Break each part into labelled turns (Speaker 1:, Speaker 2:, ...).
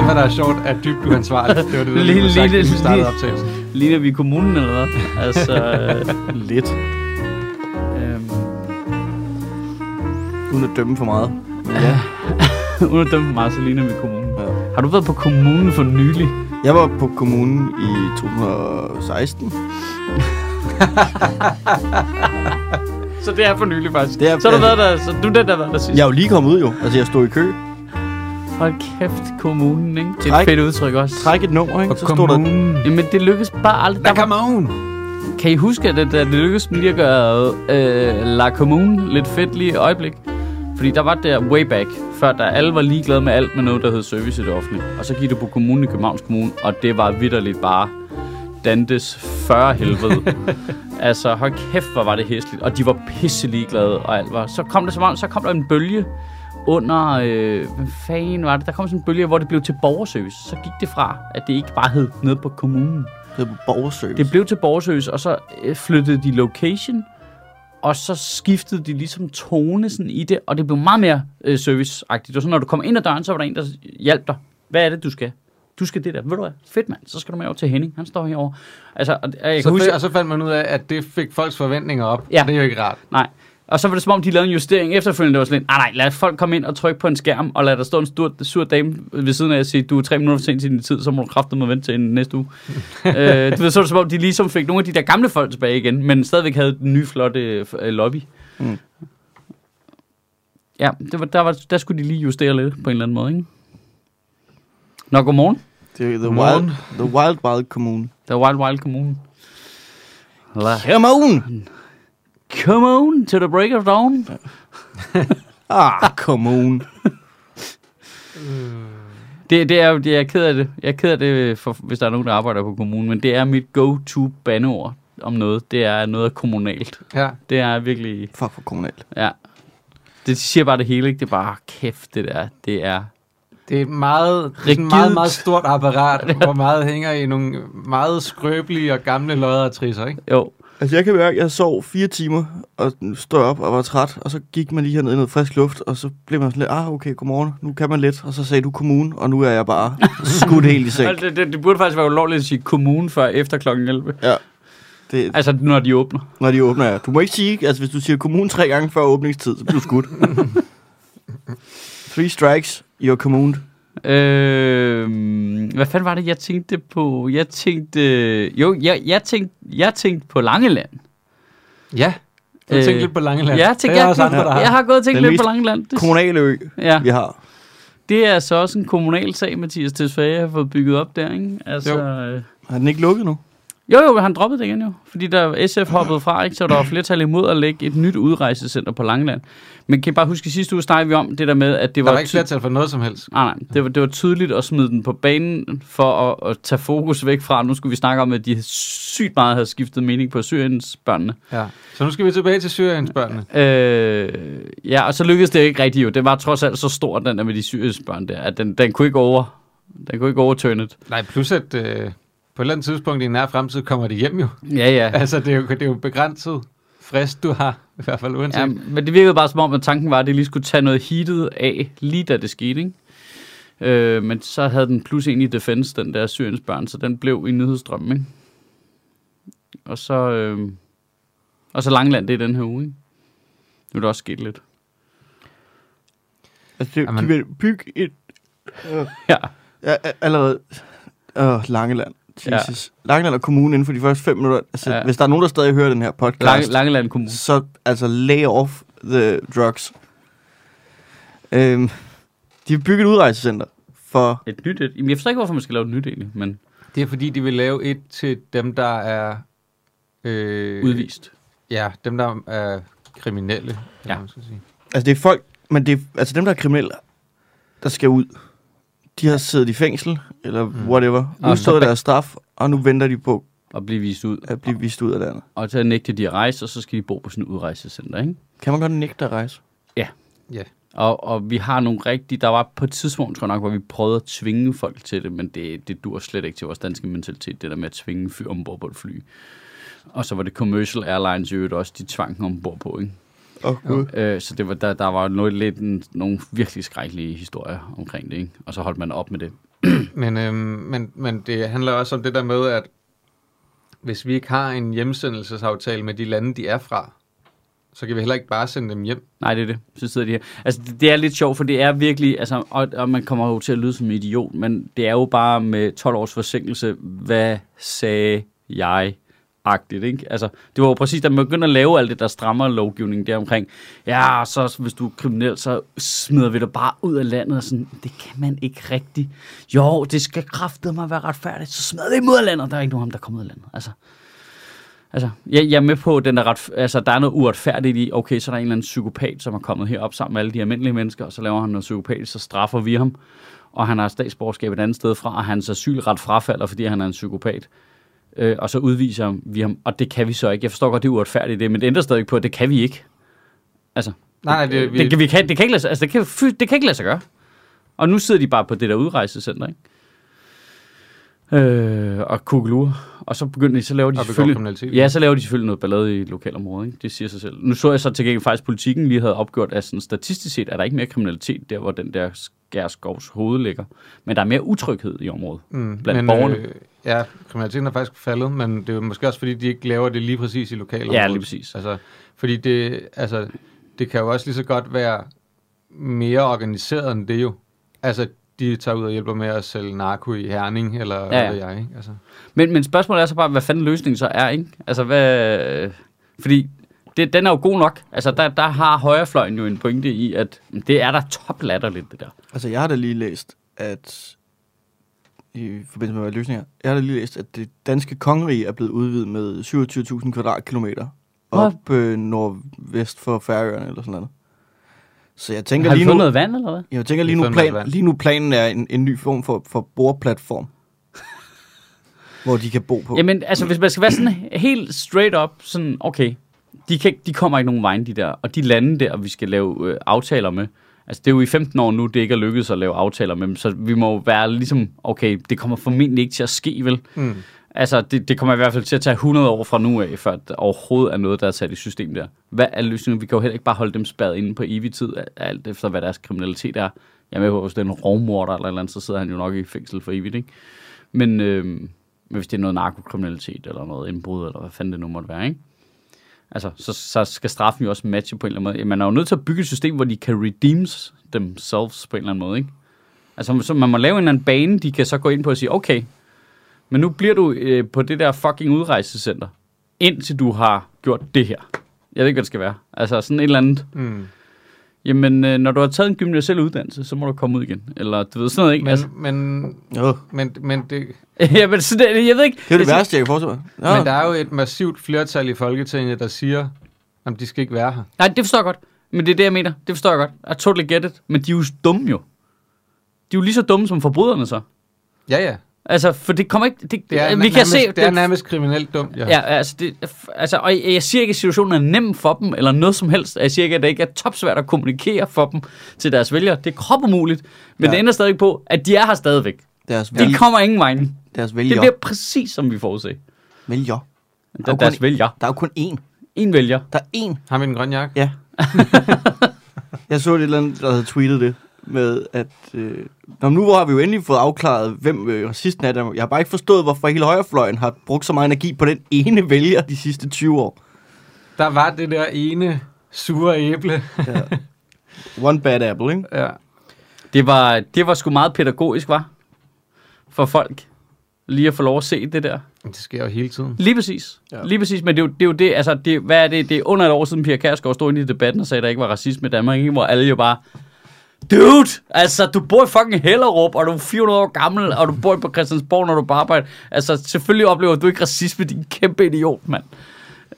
Speaker 1: emner, der er sjovt, er dybt uansvarligt. Det var det,
Speaker 2: Lille-
Speaker 1: du havde sagt,
Speaker 2: lille-
Speaker 1: inden vi startede
Speaker 2: lille-
Speaker 1: optagelsen.
Speaker 2: Ligner vi kommunen eller hvad? Altså, øh,
Speaker 3: Lidt.
Speaker 2: øhm,
Speaker 3: Uden at dømme for meget.
Speaker 2: uden at dømme for meget, så ligner vi kommunen.
Speaker 3: Ja.
Speaker 2: Har du været på kommunen for nylig?
Speaker 3: Jeg var på kommunen i 2016.
Speaker 2: Så det er for nylig faktisk.
Speaker 3: Det er-
Speaker 2: så har du været der, så du er den, der har været der sidst.
Speaker 3: Jeg er jo lige kommet ud jo. Altså, jeg stod i kø.
Speaker 2: Hold kæft, kommunen, ikke? Det er et
Speaker 3: Træk-
Speaker 2: fedt udtryk også.
Speaker 3: Træk et nummer, ikke?
Speaker 1: Og
Speaker 3: Så stod der...
Speaker 2: Jamen, det lykkedes bare aldrig. Der
Speaker 1: Der
Speaker 2: var,
Speaker 1: kom oven.
Speaker 2: kan I huske, at det, det lykkedes dem lige at gøre øh, La Commune lidt fedt lige et øjeblik? Fordi der var der way back, før der alle var ligeglade med alt med noget, der hed service i det offentlige. Og så gik du på kommunen i Københavns Kommune, og det var vidderligt bare Dantes 40 helvede. altså, hold kæft, hvor var det hæsligt. Og de var pisse ligeglade, og alt var. Så kom der, så, meget, så kom der en bølge under, øh, hvad fanden var det? Der kom sådan en bølge, hvor det blev til borgerservice. Så gik det fra, at det ikke bare hed nede på kommunen.
Speaker 3: Det var på borgerservice.
Speaker 2: Det blev til Borgsøs, og så øh, flyttede de location, og så skiftede de ligesom tone sådan i det, og det blev meget mere øh, serviceagtigt. Det var sådan, når du kom ind ad døren, så var der en, der hjalp dig. Hvad er det, du skal? Du skal det der. Ved du hvad? Fedt, mand. Så skal du med over til Henning. Han står herovre. Altså, og, og jeg
Speaker 1: Så
Speaker 2: kan huske...
Speaker 1: fa- og så fandt man ud af, at det fik folks forventninger op.
Speaker 2: Ja.
Speaker 1: Det er jo ikke rart.
Speaker 2: Nej. Og så var det som om, de lavede en justering efterfølgende. Det var sådan lidt, "Ah, nej, nej, lad folk komme ind og trykke på en skærm, og lad der stå en stor, sur dame ved siden af og sige, du er tre minutter for sent til din tid, så må du kraftedeme vente til næste uge. øh, du ved, så var det som om, de ligesom fik nogle af de der gamle folk tilbage igen, men stadigvæk havde den nye flotte øh, f- øh, lobby.
Speaker 3: Mm.
Speaker 2: Ja, det var, der, var, der skulle de lige justere lidt på en eller anden måde, ikke? Nå, godmorgen.
Speaker 3: Det er the wild,
Speaker 1: Morgen.
Speaker 3: the wild, wild kommune.
Speaker 2: Det er Wild Wild Kommune. La-
Speaker 3: Kommunen!
Speaker 2: Come on to the break of dawn.
Speaker 3: Ah, kommunen.
Speaker 2: Det, det er, jo- det, jeg er ked af det. Jeg er ked af det, øh, for, hvis der er nogen, der arbejder på kommunen, men det er mit go-to bandeord om noget. Det er noget kommunalt.
Speaker 1: Ja.
Speaker 2: Det er virkelig,
Speaker 3: Fuck for kommunalt.
Speaker 2: ja. Det siger bare det hele, ikke? Det er bare, kæft, det der. Det er,
Speaker 1: Det er et meget, det er sådan et
Speaker 2: Rigidt.
Speaker 1: meget, meget stort apparat, hvor meget hænger i nogle meget skrøbelige og gamle lodder og trisser, ikke?
Speaker 2: jo.
Speaker 3: Altså, jeg kan mærke, at jeg sov fire timer, og stod op og var træt, og så gik man lige hernede i noget frisk luft, og så blev man sådan lidt, ah, okay, godmorgen, nu kan man lidt, og så sagde du kommunen, og nu er jeg bare skudt helt i seng.
Speaker 2: Altså, det, det, det, burde faktisk være ulovligt at sige kommunen før efter klokken 11.
Speaker 3: Det,
Speaker 2: Altså, når de åbner.
Speaker 3: når de åbner jer. Du må ikke sige, altså hvis du siger kommunen tre gange før åbningstid, så bliver du skudt. Three strikes, you're communed.
Speaker 2: Øh, hvad fanden var det, jeg tænkte på? Jeg tænkte... Jo, jeg, jeg, tænkte, jeg tænkte på Langeland.
Speaker 1: Ja. Du har
Speaker 2: Øh,
Speaker 1: tænkt lidt på Langeland.
Speaker 2: Jeg, tænkte,
Speaker 1: det er
Speaker 2: jeg,
Speaker 1: også andre, der har.
Speaker 2: jeg har gået og tænkt
Speaker 3: Den
Speaker 2: lidt
Speaker 3: mest
Speaker 2: på Langeland. Det-
Speaker 3: Kommunale ø,
Speaker 2: Ja.
Speaker 3: vi har.
Speaker 2: Det er så også en kommunal sag, Mathias Tesfaye har fået bygget op der, ikke? Altså,
Speaker 1: Jo.
Speaker 2: øh,
Speaker 3: Har den ikke lukket nu?
Speaker 2: jo, jo, han droppede det igen jo, fordi der SF hoppede fra, ikke? så der var flertal imod at lægge et nyt udrejsecenter på Langeland. Men kan I bare huske, i sidste uge snakkede vi om det der med, at det
Speaker 1: Der
Speaker 2: var...
Speaker 1: var ikke
Speaker 2: ty-
Speaker 1: flertal for noget som helst.
Speaker 2: Nej, nej, det var, det var tydeligt at smide den på banen for at, at tage fokus væk fra. Nu skulle vi snakke om, at de sygt meget havde skiftet mening på Syriens børnene.
Speaker 1: Ja. Så nu skal vi tilbage til Syriens børnene.
Speaker 2: Øh, ja, og så lykkedes det ikke rigtigt jo. Det var trods alt så stor, den der med de syriske børn der, at den, den kunne ikke over... Den kunne ikke overtørne det.
Speaker 1: Nej, plus at øh, på et eller andet tidspunkt i en nær fremtid kommer de hjem jo.
Speaker 2: Ja, ja.
Speaker 1: Altså, det er jo, det er jo begrænset frist, du har, i hvert fald uanset.
Speaker 2: Ja, men det virkede bare som om, at tanken var, at det lige skulle tage noget heatet af, lige da det skete, ikke? Øh, men så havde den plus en i defense, den der Syriens børn, så den blev i nyhedsstrømmen, ikke? Og så, øh, og så Langland, det er den her uge, ikke? Nu er der også sket lidt.
Speaker 3: Altså, det,
Speaker 1: Jamen.
Speaker 3: de vil bygge et...
Speaker 2: Ja,
Speaker 3: Ja, a- allerede... Åh, Langeland. Jesus. Ja. Langeland og kommunen inden for de første fem minutter. Altså,
Speaker 2: Ja.
Speaker 3: ja. hvis der er nogen, der stadig hører den her podcast,
Speaker 2: Lang, Langeland Kommune.
Speaker 3: så altså lay off the drugs. Øhm, de har bygget et udrejsecenter for...
Speaker 2: Et nyt et. Jamen, jeg forstår ikke, hvorfor man skal lave et nyt egentlig, men
Speaker 1: Det er fordi, de vil lave et til dem, der er... Øh,
Speaker 2: udvist.
Speaker 1: Ja, dem, der er kriminelle,
Speaker 2: Ja.
Speaker 1: ja. man skal sige.
Speaker 3: Altså, det er folk... Men det er, altså, dem, der er kriminelle, der skal ud. De har siddet i fængsel, eller
Speaker 1: Mm.
Speaker 3: whatever.
Speaker 2: Og
Speaker 3: Udstået
Speaker 2: så-
Speaker 3: deres straf, og nu venter de på
Speaker 2: Og blive vist ud.
Speaker 3: at blive vist ud af landet.
Speaker 2: Og så nægter de at rejse, og så skal de bo på sådan et udrejsecenter, ikke?
Speaker 3: Kan man godt nægte at rejse?
Speaker 2: Og, og vi har nogle rigtige, der var på et tidspunkt, tror jeg nok, hvor vi prøvede at tvinge folk til det, men det, det dur slet ikke til vores danske mentalitet, det der med at tvinge en fyr ombord på et fly. Og så var det Commercial Airlines i øvrigt også, de tvang ham ombord på, ikke?
Speaker 3: Åh, oh, gud.
Speaker 2: Øh, så det var, der, der var noget, lidt en, nogle virkelig skrækkelige historier omkring det, ikke? Og så holdt man op med det.
Speaker 1: Men, øhm, men, men det handler også om det der med, at hvis vi ikke har en hjemsendelsesaftale med de lande, de er fra, så kan vi heller ikke bare sende dem hjem.
Speaker 2: Nej, det er det. Så sidder de her. Altså, det, det er lidt sjovt, for det er virkelig... Altså, og, og man kommer jo til at lyde som en idiot, men det er jo bare med 12 års forsinkelse, hvad sagde jeg? Agtigt, ikke? Altså, det var jo præcis, da man begyndte at lave alt det der strammer lovgivning der omkring. Ja, så hvis du er kriminel, så smider vi dig bare ud af landet. Og sådan, det kan man ikke rigtigt. Jo, det skal kraftedeme være retfærdigt, så smider vi dem ud af landet. Der er ikke nogen af dem, der kommer ud af landet. Altså, Altså, jeg, jeg er med på, at den er ret, altså, der er noget uretfærdigt i, okay, så er der en eller anden psykopat, som er kommet herop sammen med alle de almindelige mennesker, og så laver han noget psykopatisk, så straffer vi ham, og han har statsborgerskab et andet sted fra, og hans asylret frafalder, fordi han er en psykopat. Øh, og så udviser vi ham, og det kan vi så ikke. Jeg forstår godt, det er uretfærdigt det, men det ændrer stadig ikke på, at det kan vi ikke. Altså,
Speaker 1: Nej, Øh, det,
Speaker 2: det, kan, vi kan, det kan ikke lade sig, altså, det kan, fy, det kan ikke lade sig gøre. Og nu sidder de bare på det der udrejsecenter, ikke? Øh, og kugelure. Og så begynder de, så laver de
Speaker 1: Og begår kriminalitet.
Speaker 2: Ja, så laver de selvfølgelig noget ballade i lokalområdet, ikke? Det siger sig selv. Nu så jeg så til gengæld faktisk, politikken lige havde opgjort, at sådan, statistisk set er der ikke mere kriminalitet der, hvor den der Skærskovs hoved ligger. Men der er mere utryghed i området mm, blandt men, borgerne. Øh,
Speaker 1: Øh, ja, kriminaliteten er faktisk faldet, men det er jo måske også, fordi de ikke laver det lige præcis i lokalområdet.
Speaker 2: Ja, lige præcis.
Speaker 1: Altså, fordi det, altså, det kan jo også lige så godt være mere organiseret end det jo. Altså, de tager ud og hjælper med at sælge narko i Herning, eller ja,
Speaker 2: ja.
Speaker 1: hvad ved jeg, ikke? Altså,
Speaker 2: Men, men spørgsmålet er så bare, hvad fanden løsningen så er, ikke? Altså, hvad... øh, Fordi det, den er jo god nok. Altså, der, der har højrefløjen jo en pointe i, at det er da toplatterligt, det der.
Speaker 3: Altså, jeg har da lige læst, at i forbindelse med løsninger, jeg har da lige læst, at det danske kongerige er blevet udvidet med 27.000 kvadratkilometer op øh, nordvest for Færøerne eller sådan noget. Så jeg tænker
Speaker 2: Har vi
Speaker 3: lige
Speaker 2: fået
Speaker 3: nu,
Speaker 2: noget vand, eller hvad?
Speaker 3: jeg tænker lige
Speaker 1: Vi
Speaker 3: nu,
Speaker 1: har fundet noget
Speaker 3: plan,
Speaker 1: vand.
Speaker 3: lige nu planen er en, en ny form for, for boreplatform, hvor de kan bo på.
Speaker 2: Jamen, altså, hvis man skal være sådan helt straight up, sådan, okay, de, kan, ikke- de kommer ikke nogen vejen, de der. Og de lande der, vi skal lave øh, aftaler med, altså, det er jo i 15 år nu, det ikke er lykkedes at lave aftaler med dem, så vi må jo være ligesom, okay, det kommer formentlig ikke til at ske, vel?
Speaker 1: mm.
Speaker 2: Altså, det, det kommer i hvert fald til at tage 100 år fra nu af, før der overhovedet er noget, der er sat i system der. Hvad er løsningen? Vi kan jo heller ikke bare holde dem spærret inde på evig tid, alt efter hvad deres kriminalitet er. Jeg er med på, hvis det er en rovmorder eller et eller andet, så sidder han jo nok i fængsel for evigt, ikke? Men, øh, men hvis det er noget narkokriminalitet eller noget indbrud, eller hvad fanden det nu måtte være, ikke? Altså, så, så skal straffen jo også matche på en eller anden måde. Man er jo nødt til at bygge et system, hvor de kan redeems themselves på en eller anden måde, ikke? Altså, så man må lave en eller anden bane, de kan så gå ind på og sige, okay, men nu bliver du øh, på det der fucking udrejsecenter, indtil du har gjort det her. Jeg ved ikke, hvad det skal være. Altså sådan et eller andet.
Speaker 1: Mm.
Speaker 2: Jamen, øh, når du har taget en gymnasial uddannelse, så må du komme ud igen. Eller du ved sådan noget, ikke?
Speaker 1: Men,
Speaker 2: Men, altså,
Speaker 1: men,
Speaker 3: Jo,
Speaker 1: men, men, det,
Speaker 2: jamen, sådan, det- jeg ved ikke. Altså,
Speaker 3: det er jo det værste, jeg kan forestille mig. Ja.
Speaker 1: men der er jo et massivt flertal i Folketinget, der siger, at de skal ikke være her.
Speaker 2: Nej, det forstår jeg godt. Men det er det, jeg mener. Det forstår jeg godt. I totally get it. Men de er jo dumme jo. De er jo lige så dumme som forbryderne så.
Speaker 1: Ja, ja.
Speaker 2: Altså, for det kommer ikke... Det,
Speaker 1: Det er,
Speaker 2: vi
Speaker 1: nærmest,
Speaker 2: kan se,
Speaker 1: det er
Speaker 2: den-
Speaker 1: nærmest kriminelt dumt, ja.
Speaker 2: Ja, altså, det, altså, og jeg- jeg siger ikke, at situationen er nem for dem, eller noget som helst. Jeg siger ikke, at det ikke er topsvært at kommunikere for dem til deres vælgere. Det er kropumuligt, men
Speaker 3: Ja.
Speaker 2: ja. det ender stadig på, at de er her stadigvæk. De
Speaker 3: Deres, vælg,
Speaker 2: kommer ingen vejen. Det
Speaker 3: deres vælger.
Speaker 2: bliver præcis, som vi forudser.
Speaker 3: vælger.
Speaker 2: Der,
Speaker 3: kun
Speaker 2: deres
Speaker 3: en-
Speaker 2: vælger.
Speaker 3: Der er jo kun én.
Speaker 2: En vælger.
Speaker 3: Der er én.
Speaker 1: Har vi en grøn jakke?
Speaker 3: Ja. jeg så et eller andet, der havde tweetet det med, at... Øh, Nå, men nu har vi jo endelig fået afklaret, hvem øh, racisten er. i Danmark. Jeg har bare ikke forstået, hvorfor hele højrefløjen har brugt så meget energi på den ene vælger de sidste 20 år.
Speaker 1: Der var det der ene sure æble.
Speaker 3: One bad apple, ikke?
Speaker 1: Ja.
Speaker 2: Det var, det var sgu meget pædagogisk, var For folk. Lige at få lov at se det der.
Speaker 1: Men Det sker jo hele tiden.
Speaker 2: Lige præcis.
Speaker 3: Ja.
Speaker 2: Ja. Lige præcis, men det er jo det, er jo det altså, det, hvad er det, det er under et år siden, Pia Kærsgaard stod inde i debatten og sagde, at der ikke var racisme i Danmark, ikke? hvor alle jo bare, dude, altså, du bor i fucking Hellerup, og du er 400 år gammel, og du bor på Christiansborg, når du er på arbejde. Altså, selvfølgelig oplever du ikke racisme, din kæmpe idiot, mand.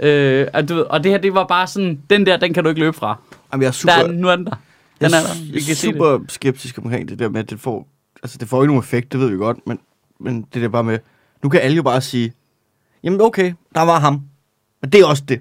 Speaker 2: Øh, og, du ved, og det her, det var bare sådan, den der, den kan du ikke løbe fra.
Speaker 3: Jamen, jeg er super,
Speaker 2: Der er, den- nu er den der. Den er
Speaker 3: jeg
Speaker 2: der.
Speaker 3: er
Speaker 2: Vi kan se det.
Speaker 3: super skeptisk omkring det der med, at det får... Altså, det får jo ikke nogen effekt, det ved vi godt, men, men det der bare med... Nu kan alle jo bare sige, jamen okay, der var ham. Men det er også det.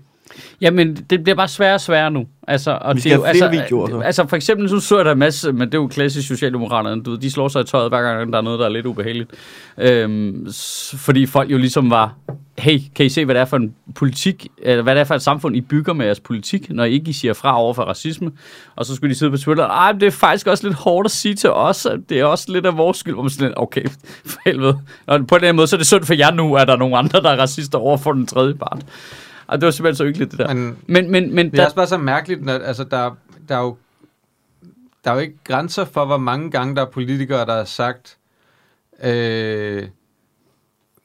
Speaker 2: Jamen, det bliver bare sværere og sværere nu. Altså, og det
Speaker 3: Vi
Speaker 2: er
Speaker 3: skal
Speaker 2: jo,
Speaker 3: have flere
Speaker 2: altså,
Speaker 3: videoer, så.
Speaker 2: Altså, for eksempel, så så jeg der en masse, men det er jo klassisk Socialdemokraterne, du ved, de slår sig i tøjet, hver gang der er noget, der er lidt ubehageligt. Øhm, s- fordi folk jo ligesom var, hey, kan I se, hvad det er for en politik, eller hvad det er for et samfund, I bygger med jeres politik, når I ikke I siger fra over for racisme? Og så skulle de sidde på Twitter, ej, men det er faktisk også lidt hårdt at sige til os, at det er også lidt af vores skyld, hvor man sådan lidt, okay, for helvede. Og på den her måde, så er det synd for jer nu, at der er nogle andre, der er racister over for den tredje part. Og det var simpelthen så hyggeligt, det der.
Speaker 1: Men
Speaker 2: Men, men, men
Speaker 1: Det er
Speaker 2: der,
Speaker 1: også bare så mærkeligt, når, altså, der, der, er jo, der er jo ikke grænser for, hvor mange gange der er politikere, der har sagt, øh,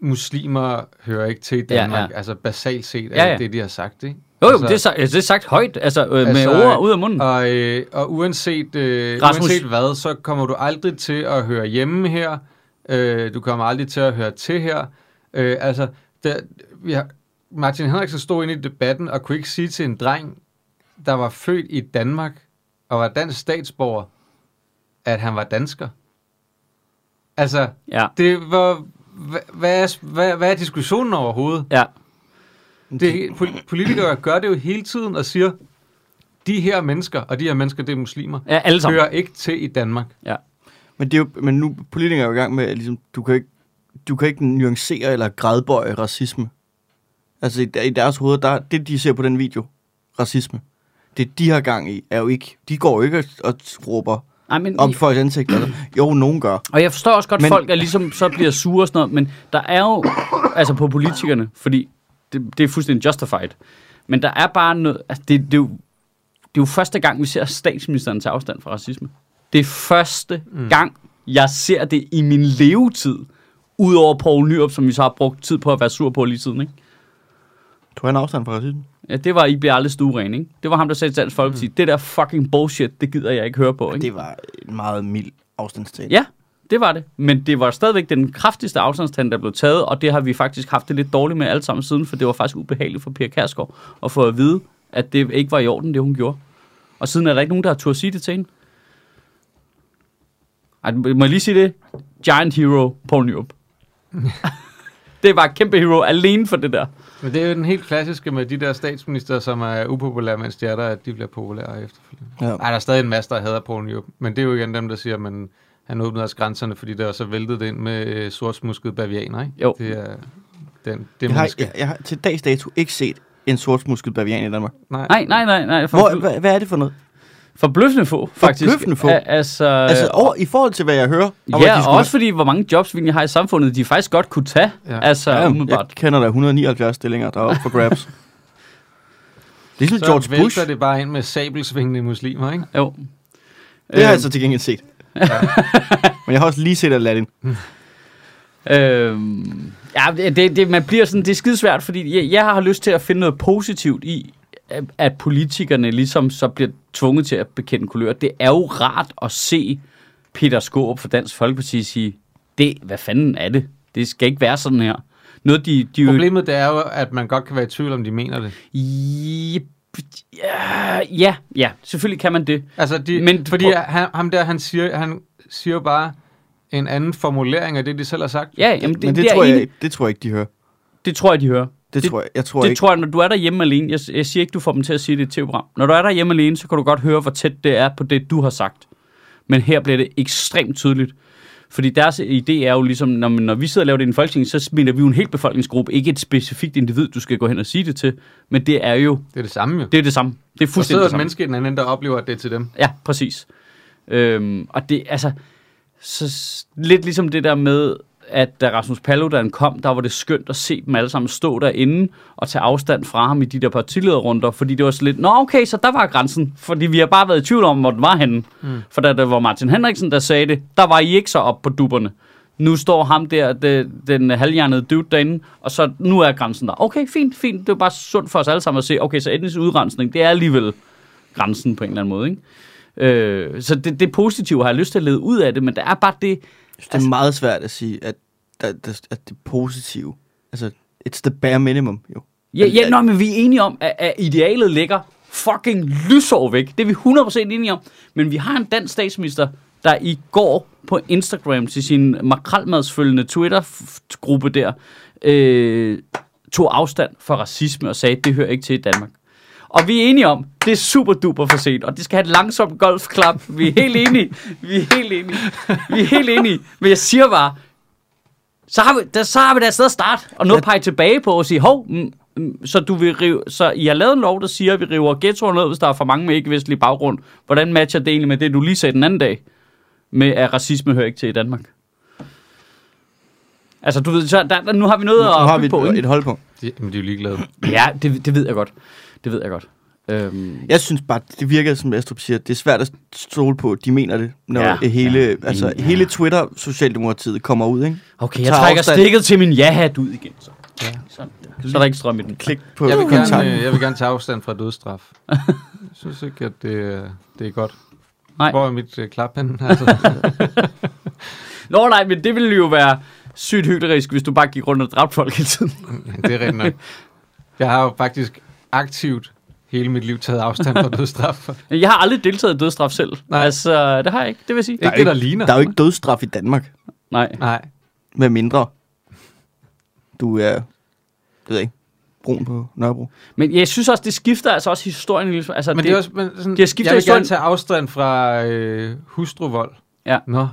Speaker 1: muslimer hører ikke til i
Speaker 2: Ja,
Speaker 1: Danmark. Ja,
Speaker 2: ja.
Speaker 1: ja. Altså basalt set er
Speaker 2: Ja,
Speaker 1: ja,
Speaker 2: ja.
Speaker 1: ja. det, de har sagt, ikke?
Speaker 2: jo, jo,
Speaker 1: altså,
Speaker 2: det er, sagt, altså, det er sagt højt, altså øh, med
Speaker 1: Altså,
Speaker 2: ord ud af munden.
Speaker 1: Og, øh, og uanset, øh,
Speaker 2: Rasmus-
Speaker 1: uanset hvad, så kommer du aldrig til at høre hjemme her. Øh, du kommer aldrig til at høre til her. Øh, altså, der, vi har, Martin Henriksen stod inde i debatten og kunne ikke sige til en dreng, der var født i Danmark og var dansk statsborger, at han var dansker. Altså,
Speaker 2: Ja,
Speaker 1: det var... Hvad, hvad, er, hvad, hvad er diskussionen overhovedet?
Speaker 2: ja.
Speaker 1: Det, pol- politikere gør det jo hele tiden og siger, de her mennesker, og de her mennesker, det er muslimer,
Speaker 2: ja alle sammen.
Speaker 1: hører ikke til i Danmark.
Speaker 3: Men, det er jo, men nu politikere er jo i gang med, at ligesom, du, kan ikke, du kan ikke nuancere eller gradbøje racisme. Altså i, der- i deres hoveder, der, det de ser på den video, racisme, det de har gang i, er jo ikke, de går jo ikke og, og råber
Speaker 2: Ej, men,
Speaker 3: om folks ansigter. Jo, nogen gør.
Speaker 2: og jeg forstår også godt, at
Speaker 3: Men-
Speaker 2: folk er ligesom, så bliver sure og sådan noget, men der er jo, altså på politikerne, fordi det, det er fuldstændig justified, men der er bare noget, altså det, det, er jo, det er jo første gang, vi ser statsministeren tage afstand fra racisme. Det er første mm. gang, jeg ser det i min levetid, udover Poul Nyrup, som vi så har brugt tid på at være sur på lige siden, ikke?
Speaker 3: Tog han afstand fra racisme?
Speaker 2: Ja, det var, I bliver aldrig stueren, ikke? Det var ham, der sagde til Dansk Folkeparti, mm. det der fucking bullshit, det gider jeg ikke høre på, ikke?
Speaker 3: Det var en meget mild afstandstagen.
Speaker 2: Ja, det var det. Men det var stadigvæk den kraftigste afstandstand, der blev taget, og det har vi faktisk haft det lidt dårligt med alle sammen siden, for det var faktisk ubehageligt for Pia Kærsgaard at få at vide, at det ikke var i orden, det hun gjorde. Og siden er der ikke nogen, der har turde sige det til hende. Ej, må jeg lige sige det? Giant hero, Paul Nyrup. det var kæmpe hero alene for det der.
Speaker 1: Men det er jo den helt klassiske med de der statsminister, som er upopulære, mens de er der, at de bliver populære efterfølgende.
Speaker 3: Ja.
Speaker 1: Nej, der er stadig en masse, der hader Poul Nyrup, men det er jo igen dem, der siger, at man, han åbnede også grænserne, fordi der så væltede det ind med øh, sortsmuskede bavianer, ikke?
Speaker 2: Jo.
Speaker 1: Det er den, det
Speaker 3: Jeg
Speaker 1: er
Speaker 3: har,
Speaker 1: menneske.
Speaker 3: jeg, jeg har til dags dato ikke set en sortsmusket bavian i Danmark.
Speaker 1: Nej.
Speaker 2: Nej, nej, nej, nej. For,
Speaker 3: Hvor, hvad, hvad er det for noget?
Speaker 2: Forbløffende få, faktisk.
Speaker 3: Forbløffende få.
Speaker 2: A- altså,
Speaker 3: Altså over, i forhold til, hvad jeg hører... om, at de
Speaker 2: ja, og
Speaker 3: skulle-
Speaker 2: også fordi, hvor mange jobs vi egentlig har i samfundet, de faktisk godt kunne tage. Ja.
Speaker 1: Ja.
Speaker 2: Altså, ja,
Speaker 3: jeg
Speaker 2: umiddelbart.
Speaker 3: kender der 179 stillinger, der er oppe for grabs. det er
Speaker 1: Så
Speaker 3: sådan George Bush.
Speaker 1: vælter det bare ind med sabelsvingende muslimer, ikke?
Speaker 2: Jo.
Speaker 3: Det har jeg
Speaker 2: Øhm.
Speaker 3: så til gengæld set. Men jeg har også lige set Aladdin.
Speaker 2: Øhm, ja, det, det, man bliver sådan, det er skidesvært, fordi jeg, jeg har lyst til at finde noget positivt i, at- at politikerne ligesom så bliver tvunget til at bekende kulør. Det er jo rart at se Peter Skåb fra Dansk Folkeparti sige, det, hvad fanden er det? Det skal ikke være sådan her. Noget, de, de jo-
Speaker 1: Problemet det er jo, at man godt kan være i tvivl, om de mener det.
Speaker 2: Jep. Ja, ja, ja, selvfølgelig kan man det.
Speaker 1: Altså, de,
Speaker 2: Men-
Speaker 1: men, fordi
Speaker 2: prøv-
Speaker 1: han, ham der, han siger, han siger jo bare en anden formulering af det, de selv har sagt.
Speaker 2: Ja, jamen, det,
Speaker 3: Men det,
Speaker 2: er
Speaker 3: tror jeg,
Speaker 2: enig.
Speaker 3: ikke- det tror jeg ikke, de hører.
Speaker 2: det tror jeg, de hører.
Speaker 3: Det, tror jeg, jeg tror
Speaker 2: det
Speaker 3: ikke.
Speaker 2: tror jeg, når du er derhjemme alene. Jeg, jeg siger ikke, du får dem til at sige det i et tv-program. Når du er derhjemme alene, så kan du godt høre, hvor tæt det er på det, du har sagt. Men her bliver det ekstremt tydeligt. Fordi deres idé er jo ligesom, når, når vi sidder og laver det i en folketing, så mener vi jo en hel befolkningsgruppe, ikke et specifikt individ, du skal gå hen og sige det til. Men det er jo,
Speaker 1: Det er det samme jo.
Speaker 2: det er det samme. Det er
Speaker 1: Der
Speaker 2: fuldstændig
Speaker 1: sidder
Speaker 2: det
Speaker 1: et
Speaker 2: samme.
Speaker 1: menneske i den anden, ende, der oplever, at det er til dem.
Speaker 2: Ja, præcis. Øhm, og det, altså, så s- lidt ligesom det der med, at da Rasmus Paludan kom, der var det skønt at se dem alle sammen stå derinde og tage afstand fra ham i de der partilederrunder, fordi det var så lidt, nå okay, så der var grænsen, fordi vi har bare været i tvivl om, hvor den var henne. Mm. For da det var Martin Henriksen, der sagde det, der var I ikke så op på dupperne. Nu står ham der, det, den halvhjernede dude derinde, og så nu er grænsen der. Okay, fint, fint. Det var bare sundt for os alle sammen at se, okay, så etnisk udrensning, det er alligevel grænsen på en eller anden måde, ikke? Øh, så det, det positive har jeg lyst til at lede ud af det, men der er bare det...
Speaker 3: Jeg synes, det
Speaker 2: altså-
Speaker 3: er meget svært at sige, at, at, at, at det positive. Altså, it's the bare minimum, jo.
Speaker 2: Ja, ja nå, men vi er enige om, at, at idealet ligger fucking lysår væk. Det er vi 100% enige om. Men vi har en dansk statsminister, der i går på Instagram til sin makralmadsfølgende Twitter-gruppe der, øh, tog afstand fra racisme og sagde, at det hører ikke til i Danmark. Og vi er enige om, det er super duper for sent, og det skal have et langsomt golfklap. Vi er helt enige. Vi er helt enige. Vi er helt enige. Men jeg siger bare, så har vi, der, så har vi da et sted at starte, og nu pege tilbage på og sige, hov, mm, mm, så, du vil rive, så I har lavet en lov, der siger, at vi river ghettoer ned, hvis der er for mange med ikke-vestlig baggrund. Hvordan matcher det egentlig med det, du lige sagde den anden dag, med at racisme hører ikke til i Danmark? Altså, du ved, så der, der, nu har vi noget at
Speaker 3: Nu har vi
Speaker 2: bygge på,
Speaker 3: et,
Speaker 2: ikke?
Speaker 3: et holdpunkt.
Speaker 1: De, jamen, de er jo ligeglade.
Speaker 2: Ja, det, det ved jeg godt. Det ved jeg godt. Øhm,
Speaker 3: Jeg synes bare, det virker, som Astrup siger, det er svært at stole på, de mener det, når
Speaker 2: Ja.
Speaker 3: ja, hele,
Speaker 2: Ja.
Speaker 3: ja, altså,
Speaker 2: Ja.
Speaker 3: hele Twitter-socialdemokratiet kommer ud, ikke?
Speaker 2: okay, jeg
Speaker 3: Tager
Speaker 2: trækker
Speaker 3: afstand.
Speaker 2: stikket til min ja-hat ud igen. Så. Ja. Sådan der. Så er der ikke strøm i den.
Speaker 3: Klik på
Speaker 1: Jeg vil,
Speaker 3: kontakt.
Speaker 1: gerne, øh, jeg vil gerne tage afstand fra dødsstraf. Jeg synes ikke, at det, øh, det er godt.
Speaker 2: Nej.
Speaker 1: Hvor er mit øh, klap henne? Altså,
Speaker 2: Nå nej, men det ville jo være sygt hyklerisk, hvis du bare gik rundt og dræbte folk hele tiden.
Speaker 1: det er rigtigt nok. Jeg har jo faktisk aktivt hele mit liv taget afstand fra dødsstraf.
Speaker 2: Jeg har aldrig deltaget i dødsstraf selv. Nej.
Speaker 1: Nej.
Speaker 2: Altså, det har jeg ikke, det vil jeg sige.
Speaker 1: Ikke det, der ligner.
Speaker 3: øh, Der er jo ikke dødsstraf i Danmark,
Speaker 2: Nej.
Speaker 1: Nej.
Speaker 3: med mindre du er, det ved jeg ikke, brun på Nørrebro.
Speaker 2: Men jeg synes også, det skifter altså også historien. en lille smule. Altså,
Speaker 1: Men det, det er også men sådan,
Speaker 2: det har skiftet
Speaker 1: jeg vil
Speaker 2: historien.
Speaker 1: gerne tage afstand fra øh, hustruvold.
Speaker 2: Ja.
Speaker 1: Nå,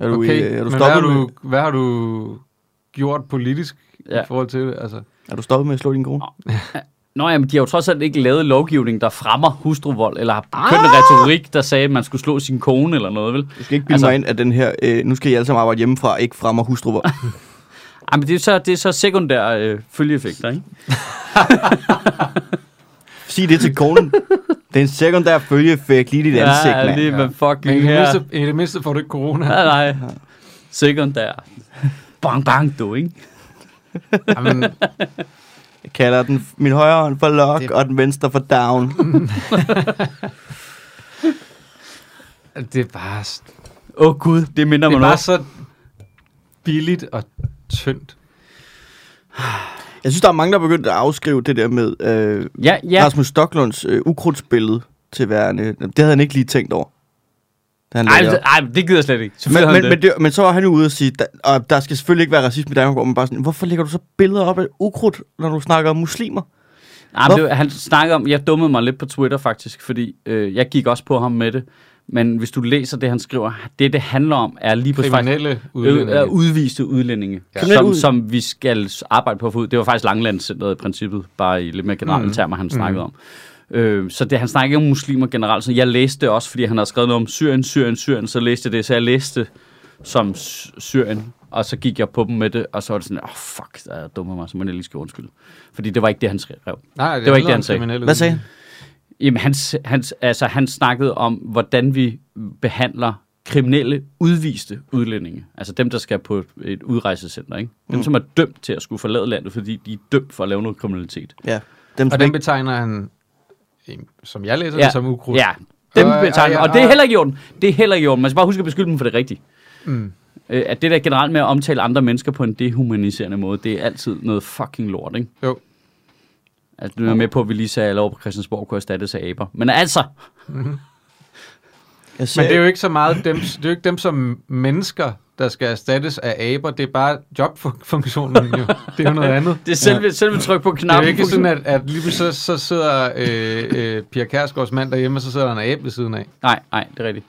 Speaker 3: Er
Speaker 1: okay.
Speaker 3: du, okay, er du
Speaker 1: men hvad har
Speaker 3: stoppet,
Speaker 1: du,
Speaker 3: med,
Speaker 1: hvad har du gjort politisk
Speaker 2: Ja.
Speaker 1: ja. i forhold til det? Altså,
Speaker 3: er du stoppet med at slå din kone?
Speaker 2: Nå jamen, de har jo trods alt ikke lavet lovgivning, der fremmer hustruvold, eller har begyndt en retorik, der sagde, at man skulle slå sin kone eller noget, vel?
Speaker 3: Du skal ikke bilde
Speaker 2: Altså-
Speaker 3: altså, mig ind, at den her, øh, nu skal I alle sammen arbejde hjemmefra, ikke fremmer hustruvold.
Speaker 2: Ej, men det er så, det er så sekundære øh, følgeeffekter, ikke?
Speaker 3: Sig det til konen. Det er en sekundær følgeeffekt lige i dit ansigt,
Speaker 2: ja,
Speaker 3: mand.
Speaker 2: lige med
Speaker 1: men i
Speaker 2: fucking
Speaker 1: det,
Speaker 2: her.
Speaker 1: mindste, i det mindste får du ikke corona.
Speaker 2: Nej, nej. Sekundær. Bang, bang, du, ikke?
Speaker 1: Jamen,
Speaker 3: Jeg kalder den, min højre hånd for lock,
Speaker 1: Det-
Speaker 3: og den venstre for down.
Speaker 1: det er bare, det
Speaker 2: Åh oh, gud, det minder
Speaker 1: er
Speaker 2: mig
Speaker 1: bare
Speaker 2: også.
Speaker 1: så billigt og tyndt.
Speaker 3: Jeg synes, der er mange, der er begyndt at afskrive det der med øh,
Speaker 2: Ja,
Speaker 3: ja.
Speaker 2: ja.
Speaker 3: Rasmus Stocklunds øh, ukrudtsbillede til værende. Det havde han ikke lige tænkt over. da han
Speaker 2: Ej,
Speaker 3: lagde
Speaker 2: men det-
Speaker 3: det op.
Speaker 2: ej, men det gider jeg slet ikke. Selvfølgelig men,
Speaker 3: men, men, men, det, men så var han jo ude og sige, der, og der skal selvfølgelig ikke være racisme i Danmark, hvor man bare sådan, hvorfor lægger du så billeder op af ukrudt, når du snakker om muslimer?
Speaker 2: Ej, men det, var- han snakker om, jeg dummede mig lidt på Twitter faktisk, fordi øh, jeg gik også på ham med det. Men hvis du læser det, han skriver, det det handler om, er lige præcis faktisk øh,
Speaker 1: Kriminelle
Speaker 2: udlændinge.
Speaker 1: udlændinge.
Speaker 2: udviste udlændinge, ja.
Speaker 3: Kriminelle
Speaker 2: som,
Speaker 3: ud-
Speaker 2: som vi skal arbejde på at få ud. Det var faktisk Langlandscenteret i princippet, bare i lidt mere generelle mm.
Speaker 1: Mhm.
Speaker 2: termer, han snakkede mm. om. Øh, så det, han snakkede ikke om muslimer generelt. Så jeg læste det også, fordi han havde skrevet noget om Syrien, Syrien, Syrien, så læste jeg det, så jeg læste som S- Syrien, og så gik jeg på dem med det, og så var det sådan, åh oh, fuck, der er jeg dummer mig, så må jeg lige skal undskylde. Fordi det var ikke det, han skrev.
Speaker 1: Nej,
Speaker 2: det var ikke
Speaker 1: handler
Speaker 2: det,
Speaker 1: om
Speaker 2: han sagde.
Speaker 1: kriminelle
Speaker 3: Hvad sagde han?
Speaker 1: udlændinge.
Speaker 2: Jamen, han, s- han, s- altså, han snakkede om, hvordan vi behandler kriminelle udviste udlændinge. Altså dem, der skal på et- et udrejsecenter. Ikke? Dem, mm. som er dømt til at skulle forlade landet, fordi de er dømt for at lave noget kriminalitet.
Speaker 3: Ja, dem
Speaker 1: Og
Speaker 3: som
Speaker 1: den
Speaker 3: ikke...
Speaker 1: betegner han, øh, som jeg læser ja. det, som ukrudt.
Speaker 2: Ja, dem
Speaker 1: Øh,
Speaker 2: betegner.
Speaker 1: øh,
Speaker 2: Og det er
Speaker 1: øh.
Speaker 2: heller ikke i orden. Det er heller ikke i orden. Man skal bare huske at beskylde dem for det rigtige.
Speaker 1: Mm.
Speaker 2: Øh, At det der generelt med at omtale andre mennesker på en dehumaniserende måde, det er altid noget fucking lort, ikke?
Speaker 1: Jo.
Speaker 2: Altså, nu er jeg med på, at vi lige sagde, at alle over på Christiansborg kunne erstattes af aber. Men altså,
Speaker 3: Jeg ser,
Speaker 1: Men det er jo ikke så meget dem, det er jo ikke dem som mennesker, der skal erstattes af aber. Det er bare jobfunktionen jo. Det er jo noget andet.
Speaker 2: det er selve, ja. selve tryk på
Speaker 1: Det er jo
Speaker 2: knappen.
Speaker 1: ikke sådan, at, at lige pludselig så, så sidder øh, øh, Pia Kærsgaards mand derhjemme, og så sidder der en abe ved siden af.
Speaker 2: Nej, nej, det er rigtigt.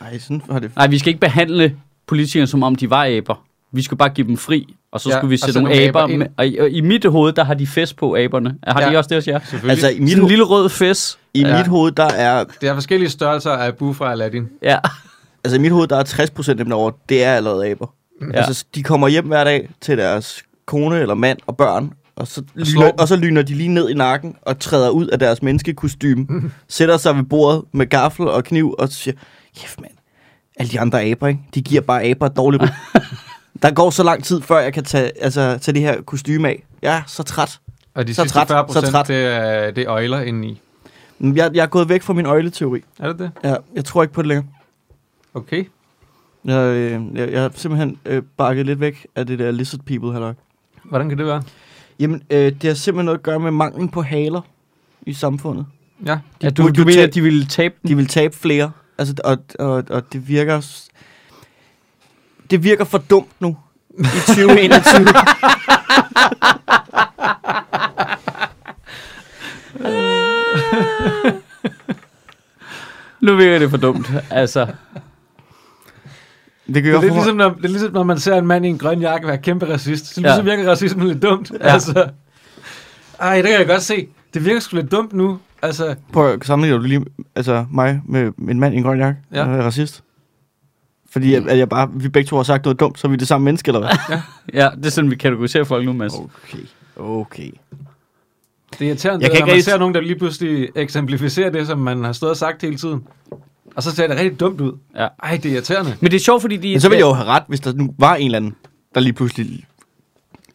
Speaker 3: Ej, sådan var det...
Speaker 2: Nej, vi skal ikke behandle politikere, som om de var aber. Vi skal bare give dem fri, og så ja,
Speaker 1: Ja,
Speaker 2: skulle vi
Speaker 1: og
Speaker 2: sætte
Speaker 1: sætte
Speaker 2: nogle
Speaker 1: nogle
Speaker 2: aber.
Speaker 1: aber ind.
Speaker 2: med, og, i, og i mit hoved, der har de fest på, aberne. Har ja. de
Speaker 1: Ja.
Speaker 2: også det hos jer?
Speaker 1: Selvfølgelig.
Speaker 3: Altså,
Speaker 1: Altså,
Speaker 3: i mit,
Speaker 2: Sådan en
Speaker 3: ho-
Speaker 2: lille rød fest.
Speaker 3: i
Speaker 1: Ja.
Speaker 3: mit hoved, der er
Speaker 1: det er forskellige størrelser af Bu fra Aladdin.
Speaker 2: Ja.
Speaker 3: Altså i mit hoved, der er 60% af dem derovre, det er allerede aber. Ja. Altså de kommer hjem hver dag til deres kone eller mand og børn, og så, lyner,
Speaker 1: slår dem.
Speaker 3: og så lyner de lige ned i nakken og træder ud af deres menneskekostyme, sætter sig ved bordet med gaffel og kniv og siger, kæft mand, alle de andre aber, ikke? de giver bare aber et dårligt ry." Der går så lang tid, før jeg kan tage, altså, tage det her kostume af. Jeg er så træt.
Speaker 1: Og de
Speaker 3: Så
Speaker 1: så sidste
Speaker 3: træt,
Speaker 1: 40
Speaker 3: så
Speaker 1: procent,
Speaker 3: træt.
Speaker 1: det, er- det er øjler indeni.
Speaker 3: Men Jeg, jeg er gået væk fra min øjleteori.
Speaker 1: Er det det?
Speaker 3: Jeg, jeg tror ikke på det længere.
Speaker 1: Okay.
Speaker 3: Jeg, øh, jeg, jeg har simpelthen øh, bakket lidt væk af det der lizard people halløj.
Speaker 1: Hvordan kan det være?
Speaker 3: Jamen, øh, det har simpelthen noget at gøre med manglen på haler i samfundet.
Speaker 1: Ja.
Speaker 2: ja du,
Speaker 3: burde
Speaker 2: du
Speaker 3: jo
Speaker 2: mener,
Speaker 3: tage-
Speaker 2: at de ville tabe dem?
Speaker 3: De vil tabe flere, altså, og, og, og det virker... s- Det virker for dumt nu i 2021.
Speaker 2: nu virker det for dumt. Altså,
Speaker 3: Det kan
Speaker 1: Det
Speaker 3: jo
Speaker 1: er, lidt
Speaker 3: ligesom...
Speaker 1: ligesom, når, det er ligesom, når man ser en mand i en grøn jakke være kæmpe racist. Så, ja.
Speaker 2: Ja.
Speaker 1: så virker racismen lidt dumt. Ja. Altså. Ej, det kan jeg godt se. Det virker sgu lidt dumt nu. Altså,
Speaker 3: Prøv at sammenligne du lige altså, mig med en mand i en grøn jakke,
Speaker 1: Ja.
Speaker 3: ja. der er racist. Fordi at, at jeg bare, vi begge to har sagt noget dumt, så er vi det samme menneske, eller hvad?
Speaker 2: ja, det er sådan, vi kategoriserer folk nu, Mads.
Speaker 3: Okay, okay.
Speaker 1: det er irriterende, jeg
Speaker 3: Jeg kan
Speaker 1: når
Speaker 3: ikke
Speaker 1: man
Speaker 3: rigtig-
Speaker 1: ser nogen, der lige pludselig eksemplificerer det, som man har stået og sagt hele tiden. Og så ser det rigtig dumt ud.
Speaker 2: Ja.
Speaker 1: Ej, det er irriterende.
Speaker 2: Men det er sjovt, fordi de...
Speaker 3: Men så ville jeg jo have ret, hvis der nu var en eller anden, der lige pludselig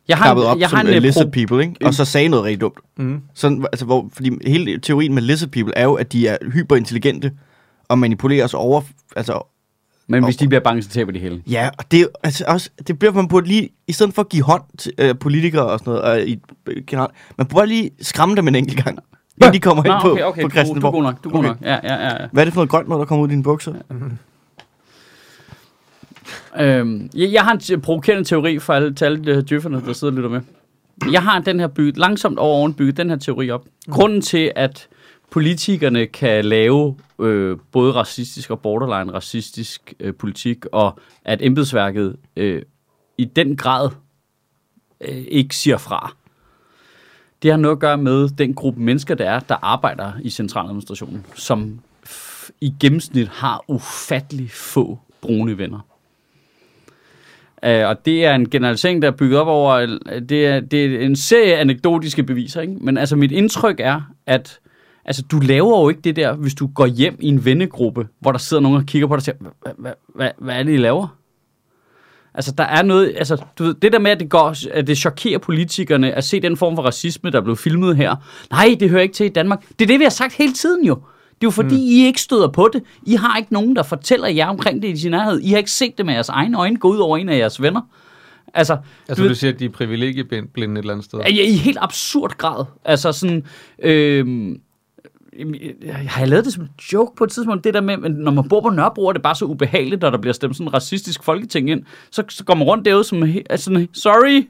Speaker 2: jeg har,
Speaker 3: knappede
Speaker 2: en-
Speaker 3: op
Speaker 2: jeg
Speaker 3: som
Speaker 2: har en,
Speaker 3: øh,
Speaker 2: øh,
Speaker 3: lizard
Speaker 2: pro-
Speaker 3: people, ikke? og så sagde noget rigtig dumt.
Speaker 1: Mm.
Speaker 3: Sådan, altså, hvor, fordi hele teorien med lizard people er jo, at de er hyperintelligente og manipuleres over... Altså,
Speaker 2: Men hvis de bliver bange, så taber de hele.
Speaker 3: ja, og det, er jo- altså, også, det bliver man burde lige... I stedet for at give hånd til øh, politikere og sådan noget, og i, øh, generelt, man burde lige skræmme dem en enkelt gang, inden de kommer
Speaker 2: Nå,
Speaker 3: ind på,
Speaker 2: okay, okay,
Speaker 3: på
Speaker 2: du, du, er
Speaker 3: Christiansborg.
Speaker 2: god nok, du er god
Speaker 3: Okay.
Speaker 2: nok. Ja, ja, ja. ja.
Speaker 3: Hvad er det for noget grønt noget, der kommer ud af dine bukser?
Speaker 2: Øhm, jeg, jeg har en te- provokerende teori for alle, til alle de her djøfferne, der sidder og lytter med. Jeg har den her bygget, langsomt over oven bygget den her teori op. Grunden til, at politikerne kan lave øh, både racistisk og borderline racistisk øh, politik, og at embedsværket øh, i den grad øh, ikke siger fra, det har noget at gøre med den gruppe mennesker, der er, der arbejder i centraladministrationen, som f- i gennemsnit har ufattelig få brune venner. Øh, og det er en generalisering, der er bygget op over, øh, det er, det er en serie anekdotiske beviser, ikke? men altså mit indtryk er, at altså, du laver jo ikke det der, hvis du går hjem i en vennegruppe, hvor der sidder nogen og kigger på dig og siger, "Hva- hva- hva- hvad er det, I laver? Altså, der er noget, altså, du ved, det der med, at det, går, at det chokerer politikerne at se den form for racisme, der blev filmet her. Nej, det hører ikke til i Danmark. Det er det, vi har sagt hele tiden jo. Det er jo fordi, mm. I ikke støder på det. I har ikke nogen, der fortæller jer omkring det i sin nærhed. I har ikke set det med jeres egne øjne gå ud over en af jeres venner. Altså,
Speaker 1: Altså, du siger, at de er privilegieblinde et eller andet sted.
Speaker 2: Ja, ja, i helt absurd grad. Altså sådan... Øh, har jeg lavet det som en joke på et tidspunkt, det der med, at når man bor på Nørrebro, er det bare så ubehageligt, når der bliver stemt sådan en racistisk folketing ind, så, så går man rundt derude som he- er sådan, sorry,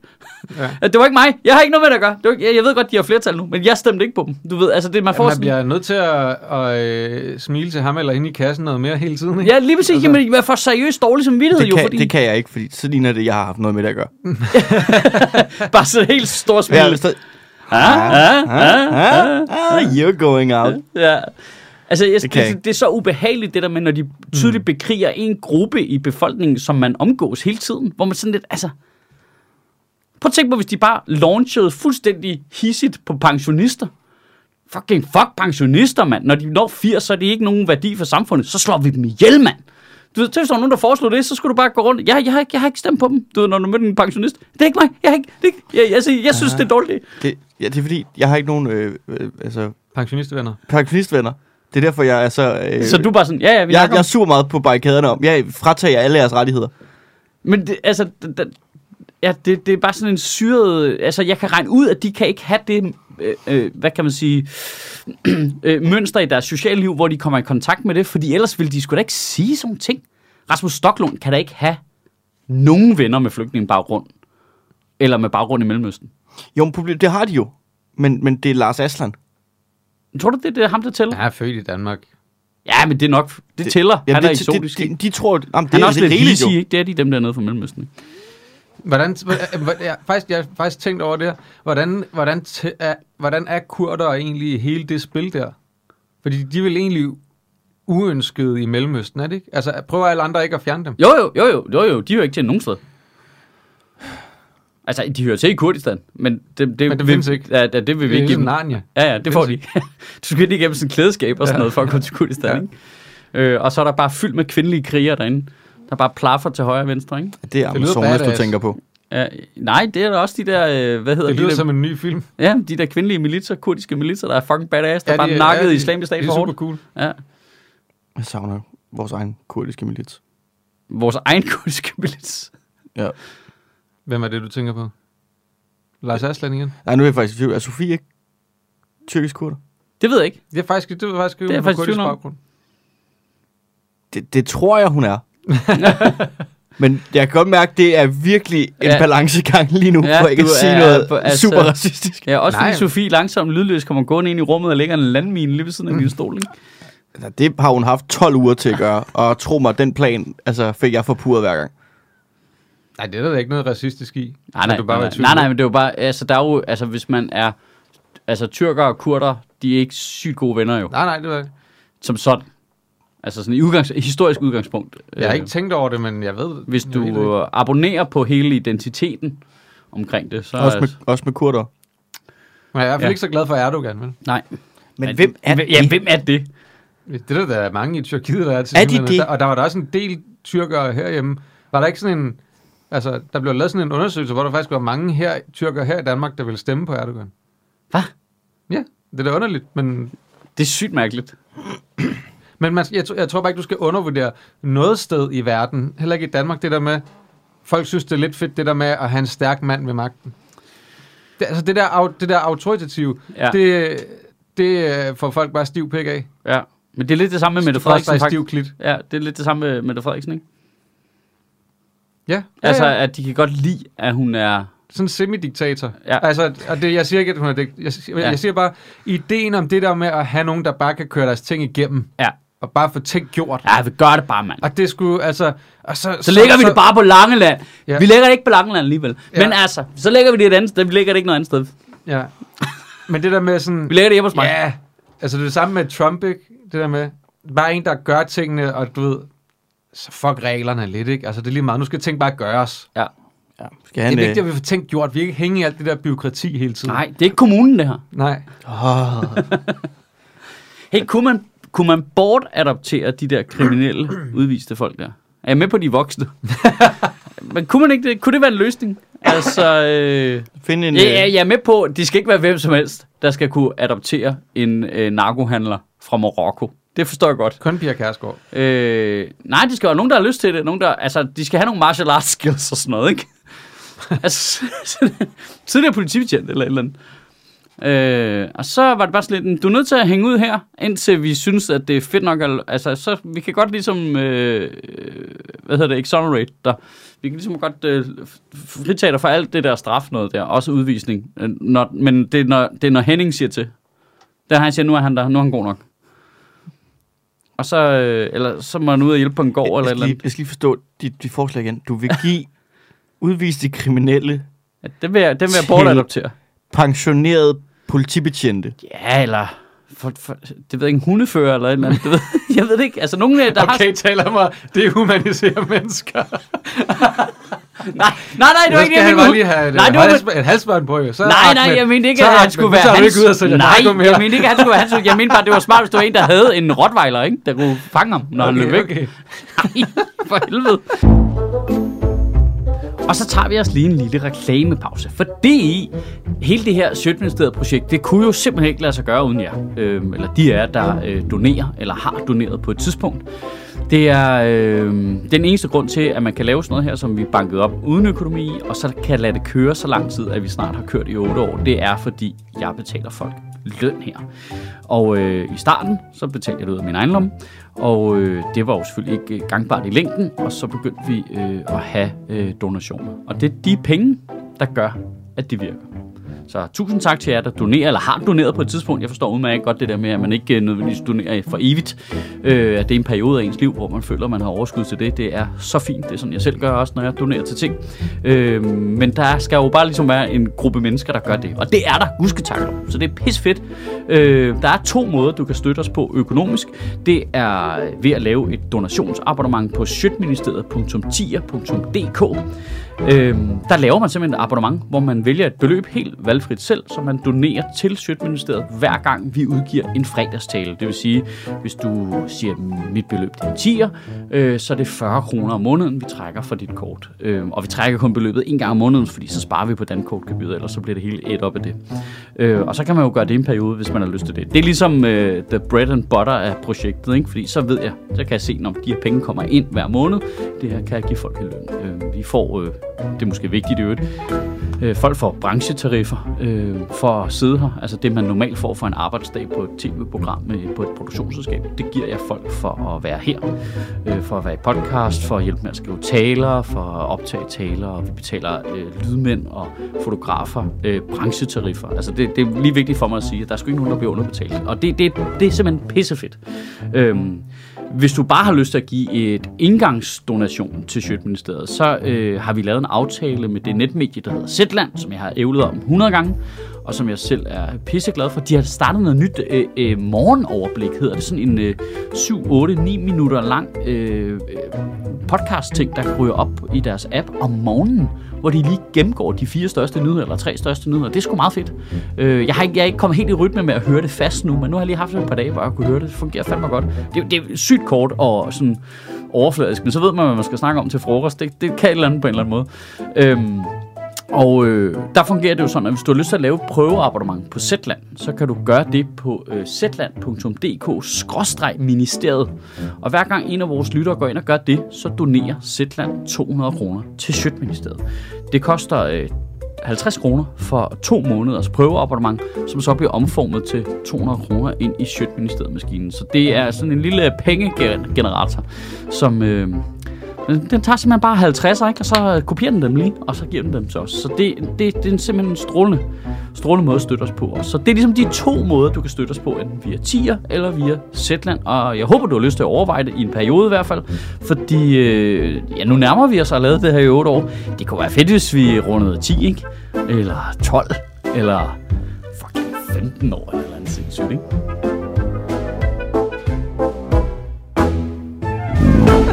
Speaker 2: ja. det var ikke mig, jeg har ikke noget med det at gøre, det var, ikke- jeg, jeg ved godt, de har flertal nu, men jeg stemte ikke på dem, du ved, altså det, man får
Speaker 1: Man
Speaker 2: sådan...
Speaker 1: bliver nødt til at, at øh, smile til ham eller hende i kassen noget mere hele tiden. Ikke?
Speaker 2: Ja, lige præcis, altså, jamen, man får seriøst dårlig samvittighed
Speaker 3: Det
Speaker 2: jo,
Speaker 3: kan,
Speaker 2: fordi Mm.
Speaker 3: det kan jeg ikke, fordi så ligner det, jeg har haft noget med det at gøre.
Speaker 2: bare så helt stor smil.
Speaker 3: Jeg er stadig,
Speaker 2: ah, ah, ah, ah.
Speaker 3: ah, you're going out.
Speaker 2: Ja. Altså, jeg,
Speaker 3: Det
Speaker 2: det,
Speaker 3: kan jeg Mm.
Speaker 2: det, det er så ubehageligt, det der med, når de tydeligt bekriger en gruppe i befolkningen, som man omgås hele tiden, hvor man sådan lidt, altså... Prøv at tænke på, hvis de bare launchede fuldstændig hissigt på pensionister. Fucking fuck pensionister, mand. Når de når 80, så er de ikke nogen værdi for samfundet. Så slår vi dem ihjel, mand. Du ved, til hvis der var nogen, der foreslog det, så skulle du bare gå rundt. Jeg, jeg, har, ikke, jeg har ikke stemt på dem. Du ved, når du mødte en pensionist. Det er ikke mig. Jeg, har ikke, det er ikke, jeg, altså, jeg synes,
Speaker 3: Ah.
Speaker 2: det er dårligt.
Speaker 3: Det, ja, det er fordi, jeg har ikke nogen øh, øh, altså,
Speaker 1: Pensionistvenner.
Speaker 3: pensionistvenner. Det er derfor, jeg er så... Øh,
Speaker 2: Så du er bare sådan, ja, ja, vi
Speaker 3: jeg,
Speaker 2: snakker om-
Speaker 3: jeg er super meget på barrikaderne om. Jeg fratager jer alle jeres rettigheder.
Speaker 2: Men det, altså, d- d- ja, det, det er bare sådan en syret... Altså, jeg kan regne ud, at de kan ikke have det, øh, øh, hvad kan man sige, øh, mønster i deres sociale liv, hvor de kommer i kontakt med det, fordi ellers ville de sgu da ikke sige sådan nogle ting. Rasmus Stoklund kan da ikke have nogen venner med flygtningebaggrund, eller med baggrund i Mellemøsten.
Speaker 3: Jo, men problem, det har de jo. Men, men det er Lars Aslan.
Speaker 2: Tror du, det, det er ham, der tæller?
Speaker 1: Jeg er født i Danmark.
Speaker 2: Ja, men det er nok... Det, det tæller. Ja, han er
Speaker 3: det,
Speaker 2: eksotisk.
Speaker 3: De,
Speaker 2: Det,
Speaker 3: de, de tror... Jamen, det
Speaker 2: han er også lidt
Speaker 3: rigeligt,
Speaker 2: risig, ikke? Det er de dem dernede fra Mellemøsten. ikke?
Speaker 1: Hvordan, hvordan- hvordan- jeg, har faktisk, jeg har faktisk tænkt over det her. Hvordan, hvordan, t- er, hvordan er kurder egentlig i hele det spil der? Fordi de er vel egentlig uønskede i Mellemøsten, er det ikke? Altså, prøver alle andre ikke at fjerne dem?
Speaker 2: Jo, jo, jo, jo, jo, jo. De hører ikke til nogen sted. Altså, de hører til i Kurdistan, men det, det,
Speaker 1: Men det
Speaker 2: vil,
Speaker 1: findes ikke.
Speaker 2: Ja, ja, det vil vi
Speaker 1: Det er
Speaker 2: ikke give
Speaker 1: ligesom
Speaker 2: dem.
Speaker 1: Narnia.
Speaker 2: Ja, ja, det får de. du skal lige igennem sådan en klædeskab og sådan noget, for at komme til Kurdistan,
Speaker 1: Ja.
Speaker 2: ja. ikke? Øh, og så er der bare fyldt med kvindelige kriger derinde, der bare plaffer til højre og venstre, ikke?
Speaker 3: Det er
Speaker 1: Det lyder
Speaker 3: Amazonas, du
Speaker 1: badass.
Speaker 3: tænker på.
Speaker 2: Ja, nej, det er da også de der, øh, hvad hedder
Speaker 1: Det
Speaker 2: de
Speaker 1: lyder
Speaker 2: der,
Speaker 1: som en ny film.
Speaker 2: ja, de der kvindelige militser, kurdiske militser, der er fucking badass,
Speaker 1: Ja,
Speaker 2: der ja, bare
Speaker 1: de-
Speaker 2: nakkede
Speaker 1: ja,
Speaker 2: ja,
Speaker 1: de-
Speaker 2: islamisk stat
Speaker 1: Det
Speaker 2: for
Speaker 1: er super
Speaker 2: hårdt.
Speaker 1: cool.
Speaker 2: Ja.
Speaker 3: Jeg savner vores egen kurdiske milits.
Speaker 2: Vores egen kurdiske milits.
Speaker 3: Ja.
Speaker 1: Hvem er det, du tænker på? Lars Aslan igen?
Speaker 3: Nej, nu er jeg faktisk i tvivl. Er Sofie ikke tyrkisk kurder?
Speaker 2: Det ved jeg ikke.
Speaker 1: Det er faktisk, det er faktisk,
Speaker 2: Det er jeg
Speaker 1: faktisk
Speaker 2: faktisk i tvivl om.
Speaker 1: baggrund.
Speaker 3: Det, det tror jeg, hun er. Men jeg kan godt mærke, det er virkelig en
Speaker 2: Ja.
Speaker 3: ja. balancegang lige nu,
Speaker 2: Ja,
Speaker 3: ja, hvor jeg kan
Speaker 2: du
Speaker 3: sige
Speaker 2: er
Speaker 3: noget
Speaker 2: på- altså-
Speaker 3: altså, super racistisk.
Speaker 2: Ja, også fordi
Speaker 1: Nej.
Speaker 2: Sofie langsomt lydløst kommer gående ind i rummet og lægger en landmine lige ved siden af
Speaker 1: Mm.
Speaker 2: min stol. ikke?
Speaker 3: Altså, det har hun haft 12 uger til at gøre, og tro mig, den plan altså, fik jeg forpurret hver gang.
Speaker 1: Nej, det er der da ikke noget racistisk i.
Speaker 2: Nej,
Speaker 1: Kan
Speaker 2: nej,
Speaker 1: du bare
Speaker 2: nej,
Speaker 1: være i tvivl
Speaker 2: nej, nej,
Speaker 1: om?
Speaker 2: men det er jo bare, altså der er jo, altså hvis man er, altså tyrker og kurder, de er ikke sygt gode venner jo,
Speaker 1: Nej, nej, det var ikke.
Speaker 2: som sådan. Altså sådan i udgangs, i historisk udgangspunkt.
Speaker 1: Jeg har
Speaker 2: Øh,
Speaker 1: ikke tænkt over det, men jeg ved
Speaker 2: Hvis
Speaker 1: jeg
Speaker 2: du
Speaker 1: ved det.
Speaker 2: øh, abonnerer på hele identiteten omkring det, så...
Speaker 3: Også med, også med kurder.
Speaker 1: Men jeg er i hvert fald
Speaker 2: ja.
Speaker 1: ikke så glad for Erdogan, vel?
Speaker 2: Nej.
Speaker 3: Men hvem er
Speaker 2: det? Ja, hvem er det?
Speaker 1: Det er der, der er mange i Tyrkiet, der er til
Speaker 3: Er de
Speaker 1: synligheden, og
Speaker 3: det?
Speaker 1: Der, og der var der også en del tyrkere herhjemme. Var der ikke sådan en... Altså, der blev lavet sådan en undersøgelse, hvor der faktisk var mange her, tyrkere her i Danmark, der ville stemme på Erdogan.
Speaker 2: Hvad?
Speaker 1: Ja, det er da underligt, men,
Speaker 2: Det er sygt mærkeligt.
Speaker 1: men man, jeg, tr- jeg tror bare ikke, du skal undervurdere noget sted i verden, heller ikke i Danmark, det der med, folk synes, det er lidt fedt, det der med at have en stærk mand ved magten. Det, altså, det der, au- det der autoritative,
Speaker 2: Ja.
Speaker 1: ja. det, det øh, får folk bare stiv pik af.
Speaker 2: Ja. Men det er lidt det samme med Mette
Speaker 1: Det får også
Speaker 2: Frederiksen,
Speaker 1: bare
Speaker 2: faktisk.
Speaker 1: stiv klit.
Speaker 2: Ja, det er lidt det samme med Mette Frederiksen, ikke?
Speaker 1: Ja, ja,
Speaker 2: Altså,
Speaker 1: ja.
Speaker 2: at de kan godt lide, at hun er...
Speaker 1: sådan en semidiktator.
Speaker 2: Ja.
Speaker 1: Ja. Altså, og det, jeg siger ikke, at hun er digt, jeg, jeg,
Speaker 2: Ja.
Speaker 1: ja. jeg siger bare, ideen om det der med at have nogen, der bare kan køre deres ting igennem,
Speaker 2: Ja,
Speaker 1: og bare få ting gjort. Ja.
Speaker 2: ja vi gør det bare, mand.
Speaker 1: Og det skulle, altså... Og så,
Speaker 2: Så lægger vi det bare på Langeland. Ja.
Speaker 1: Ja.
Speaker 2: Vi lægger det ikke på Langeland alligevel. Ja.
Speaker 1: Ja.
Speaker 2: Men altså, så lægger vi det et andet sted. Vi lægger det ikke noget andet sted.
Speaker 1: Ja. Men det der med sådan...
Speaker 2: Vi lægger det hjemme hos mig.
Speaker 1: Ja, altså det er det samme med Trump, ikke? Det der med, bare en, der gør tingene, og du ved, så fuck reglerne lidt, ikke? Altså det er lige meget, nu skal ting bare gøres.
Speaker 2: ja.
Speaker 3: Ja, skal
Speaker 1: Det
Speaker 3: han,
Speaker 1: er vigtigt, at
Speaker 3: øh,
Speaker 1: vi får ting gjort. Vi er ikke hænge i alt det der byråkrati hele tiden.
Speaker 2: Nej, det er ikke kommunen, det her.
Speaker 1: Nej.
Speaker 3: åh,
Speaker 2: Hey, kunne man, kunne man bortadoptere de der kriminelle udviste folk der? Er jeg med på de er voksne? Men kunne, man ikke det? kunne det være en løsning? Altså, øh,
Speaker 3: Finde en,
Speaker 2: jeg, jeg,
Speaker 3: øh,
Speaker 2: jeg er med på, det skal ikke være hvem som helst, der skal kunne adoptere en øh, narkohandler fra Marokko. Det forstår jeg godt.
Speaker 1: Kun Pia Kærsgaard.
Speaker 2: Øh, nej, de skal jo have nogen, der har lyst til det. Nogen, der, altså, de skal have nogle martial arts skills og sådan noget, ikke? altså, tidligere politibetjent eller et eller andet. Øh, og så var det bare sådan lidt, du er nødt til at hænge ud her, indtil vi synes, at det er fedt nok. at- Altså, så vi kan godt ligesom, øh, hvad hedder det, exonerate dig. Vi kan ligesom godt øh, fritage dig for alt det der straf noget der, også udvisning. Øh, Når, men det er, når, det er, når Henning siger til. Der har han siger, nu er han der, nu er han god nok. Og så, øh, eller, så må han ud og hjælpe på en gård eller et
Speaker 3: jeg,
Speaker 2: eller
Speaker 3: skal lige,
Speaker 2: andet.
Speaker 3: jeg skal lige forstå dit, dit forslag igen. Du vil give udviste kriminelle,
Speaker 2: Ja, det vil jeg, den vil jeg
Speaker 3: Til-
Speaker 2: bortadoptere.
Speaker 3: pensionerede politibetjente.
Speaker 2: Ja, eller... For, for, det ved jeg ikke, en hundefører eller et eller andet. Det ved, jeg ved det ikke. Altså, nogen, øh, der har...
Speaker 1: Okay, taler mig. Det er humaniserer mennesker.
Speaker 2: Nej, nej, nej, det var
Speaker 1: Så
Speaker 2: ikke
Speaker 1: skal
Speaker 2: det, jeg
Speaker 1: han
Speaker 2: mente.
Speaker 1: bare lige have et,
Speaker 2: Nej,
Speaker 1: nej,
Speaker 2: det var-
Speaker 1: et halsbånd på, jo. Så er
Speaker 2: Nej, nej,
Speaker 1: Ahmed.
Speaker 2: jeg mente ikke,
Speaker 1: Så er
Speaker 2: at han
Speaker 1: Ahmed.
Speaker 2: skulle
Speaker 1: Så
Speaker 2: være
Speaker 1: er du
Speaker 2: hans.
Speaker 1: ikke ude og sælge narko
Speaker 2: nej,
Speaker 1: mere.
Speaker 2: jeg mente ikke, at han skulle være hans. Jeg mente bare, det var smart, hvis det var en, der havde en rottweiler, ikke? Der kunne fange ham, når han løb væk.
Speaker 1: Okay.
Speaker 2: Ej, for helvede. Og så tager vi os lige en lille reklamepause, fordi hele det her Sjøtministeriet projekt, det kunne jo simpelthen ikke lade sig gøre uden jer. Øhm, eller de er der øh, donerer, eller har doneret på et tidspunkt. Det er øh, den eneste grund til, at man kan lave sådan noget her, som vi bankede op uden økonomi, og så kan lade det køre så lang tid, at vi snart har kørt i 8 år. Det er, fordi jeg betaler folk løn her. Og øh, i starten, så betalte jeg det ud af min egen lomme, og øh, det var jo selvfølgelig ikke øh, gangbart i længden, og så begyndte vi øh, at have øh, donationer. Og det er de penge, der gør, at det virker. Så tusind tak til jer, der donerer, eller har doneret på et tidspunkt. Jeg forstår udmærket godt det der med, at man ikke øh, nødvendigvis donerer for evigt. Øh, at det er en periode af ens liv, hvor man føler, at man har overskud til det. Det er så fint. Det er sådan, jeg selv gør også, når jeg donerer til ting. Øh, men der skal jo bare ligesom være en gruppe mennesker, der gør det. Og det er der, husk tak. Så det er pis fedt. Øh, der er to måder, du kan støtte os på økonomisk. Det er ved at lave et donationsabonnement på sjøtministeriet.tier.dk Øhm, der laver man simpelthen et abonnement, hvor man vælger et beløb helt valgfrit selv, som man donerer til Sjøtministeriet, hver gang vi udgiver en fredagstale. Det vil sige, hvis du siger, "Mm, mit beløb det er 10'er, øh, så er det 40 kroner om måneden, vi trækker fra dit kort. Øhm, og vi trækker kun beløbet en gang om måneden, fordi så sparer vi på dankortgebyret, ellers så bliver det hele et op af det. Øh, og så kan man jo gøre det i en periode, hvis man har lyst til det. Det er ligesom øh, the bread and butter af projektet, ikke? fordi så ved jeg, så kan jeg se, når de her penge kommer ind hver måned, det her kan jeg give folk i løn. Øh, vi får, øh, det er måske vigtigt i øvrigt, øh, folk får branchetariffer, øh, for at sidde her. Altså det, man normalt får for en arbejdsdag på et tv-program med, på et produktionsselskab, det giver jeg folk for at være her. Øh, for at være i podcast, for at hjælpe med at skrive taler, for at optage taler, og vi betaler øh, lydmænd og fotografer øh, branchetariffer. Altså det, det er lige vigtigt for mig at sige, at der er sgu ikke nogen, der bliver underbetalt. Og det, det, det er simpelthen pissefedt. Øhm, hvis du bare har lyst til at give et indgangsdonation til Sjøtministeriet, så øh, har vi lavet en aftale med det netmedie, der hedder Zetland, som jeg har ævlet om 100 gange, og som jeg selv er pisseglad for. De har startet noget nyt øh, øh, morgenoverblik, hedder det. Sådan en øh, 7, 8, 9 minutter lang øh, øh, podcast-ting, der ryger op i deres app om morgenen, hvor de lige gennemgår de fire største nyheder, eller tre største nyheder. Det er sgu meget fedt. Øh, jeg, har ikke, jeg er ikke kommet helt i rytme med at høre det fast nu, men nu har jeg lige haft det et par dage, hvor jeg kunne høre det. Det fungerer fandme godt. Det, det er sygt kort og sådan overfladisk, men så ved man, hvad man skal snakke om til frokost. Det, det kan et eller andet på en eller anden måde. Øhm, og øh, der fungerer det jo sådan, at hvis du har lyst til at lave et prøveabonnement på Zetland, så kan du gøre det på øh, zetland.dk-ministeriet. Og hver gang en af vores lyttere går ind og gør det, så donerer Zetland 200 kroner til Sjøtministeriet. Det koster øh, 50 kroner for to måneders prøveabonnement, som så bliver omformet til 200 kroner ind i Sjøtministeriet-maskinen. Så det er sådan en lille pengegenerator, som... Øh, den tager simpelthen bare 50, ikke? og så øh, kopierer den dem lige, og så giver den dem til os. Så det, det, det er simpelthen en strålende, strålende måde at støtte os på. Og Så det er ligesom de to måder, du kan støtte os på, enten via tier eller via Zetland. Og jeg håber, du har lyst til at overveje det i en periode i hvert fald, fordi øh, ja, nu nærmer vi os at lave det her i 8 år. Det kunne være fedt, hvis vi rundede 10, ikke? Eller 12, eller fucking 15 år, eller et eller andet sindssygt, ikke?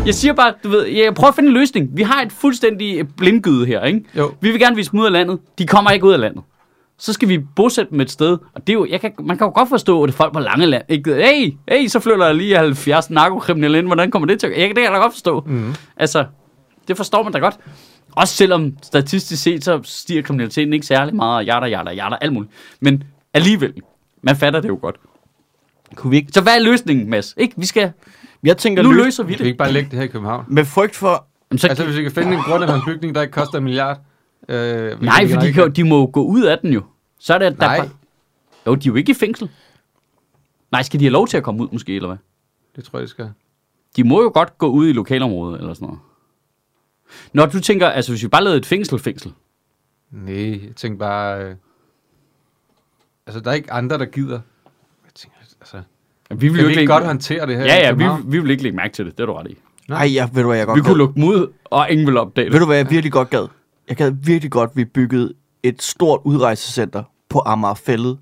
Speaker 2: Jeg siger bare, du ved, jeg prøver at finde en løsning. Vi har et fuldstændig blindgyde her, ikke?
Speaker 1: Jo.
Speaker 2: Vi vil gerne vise dem ud af landet. De kommer ikke ud af landet. Så skal vi bosætte dem et sted. Og det er jo, jeg kan, man kan jo godt forstå, at det er folk på lange land. Ikke? Hey, hey, så flytter der lige 70 narkokriminelle ind. Hvordan kommer det til? at- Jeg, det kan jeg da godt forstå. Mm. Altså, det forstår man da godt. Også selvom statistisk set, så stiger kriminaliteten ikke særlig meget. og Jada, jada, jada, alt muligt. Men alligevel, man fatter det jo godt.
Speaker 3: Kunne vi ikke?
Speaker 2: Så hvad er løsningen, Mads? Ikke? Vi skal,
Speaker 3: Jeg tænker,
Speaker 2: nu
Speaker 3: løs-
Speaker 2: løser vi
Speaker 1: Kan vi
Speaker 2: det.
Speaker 1: ikke bare lægge det her i København?
Speaker 3: med frygt for...
Speaker 2: Jamen, så
Speaker 1: Altså, hvis vi kan finde en grund af en bygning, der ikke koster en milliard. Øh, hvilket
Speaker 2: Nej,
Speaker 1: vi
Speaker 2: for
Speaker 1: nok
Speaker 2: de,
Speaker 1: ikke
Speaker 2: kan, jo- de må jo gå ud af den jo. Så er det, at der
Speaker 1: Nej.
Speaker 2: er- Jo, de er jo ikke i fængsel. Nej, skal de have lov til at komme ud måske, eller hvad?
Speaker 1: Det tror jeg, det skal.
Speaker 2: De må jo godt gå ud i lokalområdet, eller sådan noget. Når du tænker, altså hvis vi bare lavede et fængsel-fængsel.
Speaker 1: Nej, jeg tænkte bare... Øh, altså, der er ikke andre, der gider. Jeg tænker, altså...
Speaker 2: Vi
Speaker 1: Vi
Speaker 2: vil
Speaker 1: kan
Speaker 2: jo
Speaker 1: vi
Speaker 2: ikke
Speaker 1: ikke
Speaker 2: lægge,
Speaker 1: godt håndtere det her
Speaker 2: Ja,
Speaker 1: i
Speaker 2: ja, vi,
Speaker 1: København?
Speaker 2: vi vil ikke lægge mærke til det, det er du ret i.
Speaker 3: Nej, jeg, ved du hvad, jeg godt
Speaker 2: Vi
Speaker 3: gad?
Speaker 2: kunne lukke dem ud, og ingen vil opdage
Speaker 3: Ved
Speaker 2: det.
Speaker 3: du, hvad jeg virkelig godt gad? Jeg gad virkelig godt, at vi byggede et stort udrejsecenter på Amagerfællet.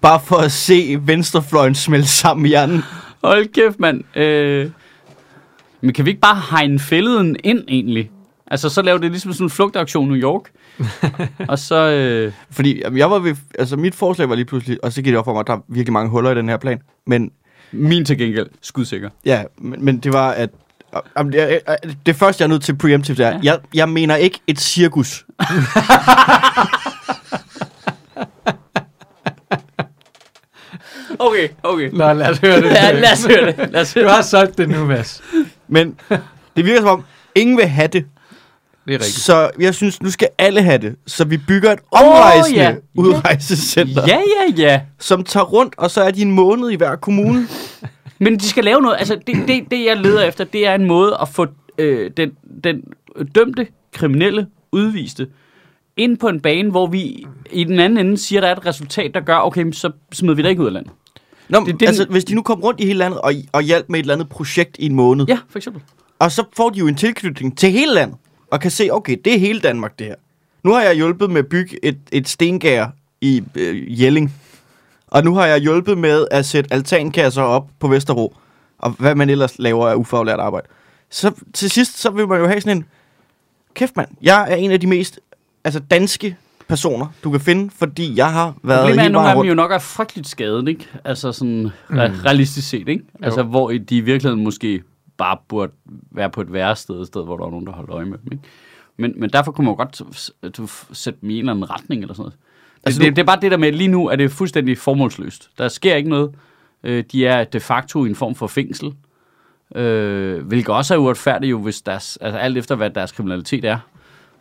Speaker 3: Bare for at se venstrefløjen smelte sammen i hjernen.
Speaker 2: Hold kæft, mand. Øh, men kan vi ikke bare hegne fælleden ind, egentlig? Altså, så lave det ligesom sådan en flugtaktion i New York. og så... Øh,
Speaker 3: Fordi jamen, jeg var ved, altså, mit forslag var lige pludselig, og så gik det op for mig, at der er virkelig mange huller i den her plan. Men
Speaker 2: min til gengæld, skudsikker.
Speaker 3: ja, men, men det var, at Jamen, det, er- det første, jeg er nødt til preemptive, det er, ja. jeg, jeg mener ikke et cirkus.
Speaker 2: Okay, okay.
Speaker 1: Nå, lad os høre det.
Speaker 2: Ja, lad os høre det. Lad os høre
Speaker 1: Du
Speaker 2: det.
Speaker 1: har solgt det nu, Mads.
Speaker 3: Men det virker som om, ingen vil have det.
Speaker 1: Det er rigtigt.
Speaker 3: Så jeg synes, nu skal alle have det. Så vi bygger et omrejsende
Speaker 2: ja.
Speaker 3: oh, ja. udrejsecenter, ja.
Speaker 2: Ja, ja, ja.
Speaker 3: som tager rundt, og så er de en måned i hver kommune.
Speaker 2: Men de skal lave noget. Altså, det, det, det jeg leder efter, det er en måde at få øh, den, den dømte, kriminelle, udviste ind på en bane, hvor vi i den anden ende siger, der er et resultat, der gør, okay, men så smider vi dig ikke ud af landet.
Speaker 3: Nå, det,
Speaker 2: Det-
Speaker 3: det,
Speaker 2: det-
Speaker 3: altså, hvis de nu kom rundt i hele landet og, og hjalp med et eller andet projekt i en måned, ja.
Speaker 2: Ja, for eksempel.
Speaker 3: og så får de jo en tilknytning til hele landet, og kan se, okay, det er hele Danmark, det her. Nu har jeg hjulpet med at bygge et, et stengær i øh, Jelling, og nu har jeg hjulpet med at sætte altankasser op på Vesterbro, og hvad man ellers laver af ufaglært arbejde. Så til sidst, så vil man jo have sådan en, kæft mand, jeg er en af de mest altså, danske personer, du kan finde, fordi jeg har
Speaker 2: Problemet
Speaker 3: været
Speaker 2: er, at
Speaker 3: hele
Speaker 2: nogle af
Speaker 3: vejen
Speaker 2: dem jo
Speaker 3: rundt.
Speaker 2: nok er frygteligt skadet, ikke? Altså sådan re- realistisk set, ikke? Altså, hvor de i virkeligheden måske bare burde være på et værre sted, et sted, hvor der var nogen, der holdt øje med dem, ikke? Men, men derfor kunne man jo godt s- s- sætte dem i en eller anden retning eller sådan noget. Altså,
Speaker 3: Altså,
Speaker 2: det,
Speaker 3: nu-
Speaker 2: det er bare det der med, at lige nu er det fuldstændig formålsløst. Der sker ikke noget. Øh, de er de facto i en form for fængsel. Øh, hvilket også er uretfærdigt jo, hvis deres, altså alt efter hvad deres kriminalitet er.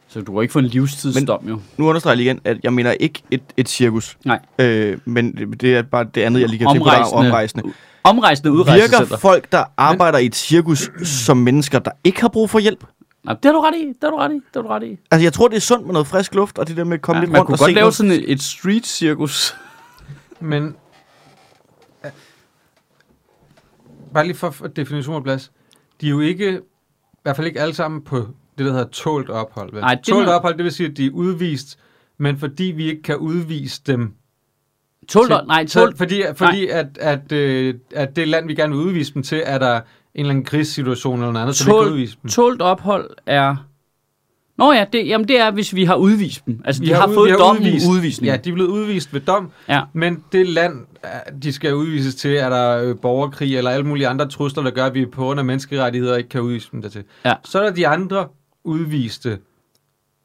Speaker 2: Så du har ikke fået en livstidsdom, jo.
Speaker 3: Nu understreger jeg lige igen, at jeg mener ikke et, et cirkus.
Speaker 2: Nej.
Speaker 3: Øh, men det er bare det andet, jeg lige kan tænke på, der er omrejsende.
Speaker 2: Omrejsende
Speaker 3: Virker
Speaker 2: udrejsecenter.
Speaker 3: folk, der arbejder i et cirkus, som mennesker, der ikke har brug for hjælp?
Speaker 2: Nej, det har du ret i, det har du ret i, det har du ret i.
Speaker 3: Altså, jeg tror, det er sundt med noget frisk luft, og det der med at komme
Speaker 2: Ja,
Speaker 3: ja, lidt
Speaker 2: man
Speaker 3: rundt
Speaker 2: kunne
Speaker 3: og
Speaker 2: godt
Speaker 3: se
Speaker 2: lave
Speaker 3: noget.
Speaker 2: sådan et street-cirkus.
Speaker 1: Men... Ja. Bare lige for, for definition af plads. De er jo ikke, i hvert fald ikke alle sammen på det, der hedder tålt ophold. Vel?
Speaker 2: Ej, det er
Speaker 1: tålt
Speaker 2: noget-
Speaker 1: ophold, det vil sige, at de er udvist, men fordi vi ikke kan udvise dem.
Speaker 2: Tålt,
Speaker 1: til-
Speaker 2: nej,
Speaker 1: så,
Speaker 2: tålt.
Speaker 1: fordi fordi at, at, øh, at det land, vi gerne vil udvise dem til, er der en eller anden krigssituation eller noget andet, så vi ikke kan udvise dem.
Speaker 2: Tålt, tålt ophold er... Nå ja, det, jamen det er, hvis vi har udvist dem. Altså, de har,
Speaker 1: ud-
Speaker 2: fået
Speaker 1: vi
Speaker 2: dommen udvist. udvisning.
Speaker 1: Ja, de er blevet udvist ved dom,
Speaker 2: ja.
Speaker 1: Men det land, øh, de skal udvises til, er der øh, borgerkrig eller alle mulige andre trusler, der gør, at vi på grund af menneskerettigheder ikke kan udvise dem dertil.
Speaker 2: Ja.
Speaker 1: Så er der de andre udviste,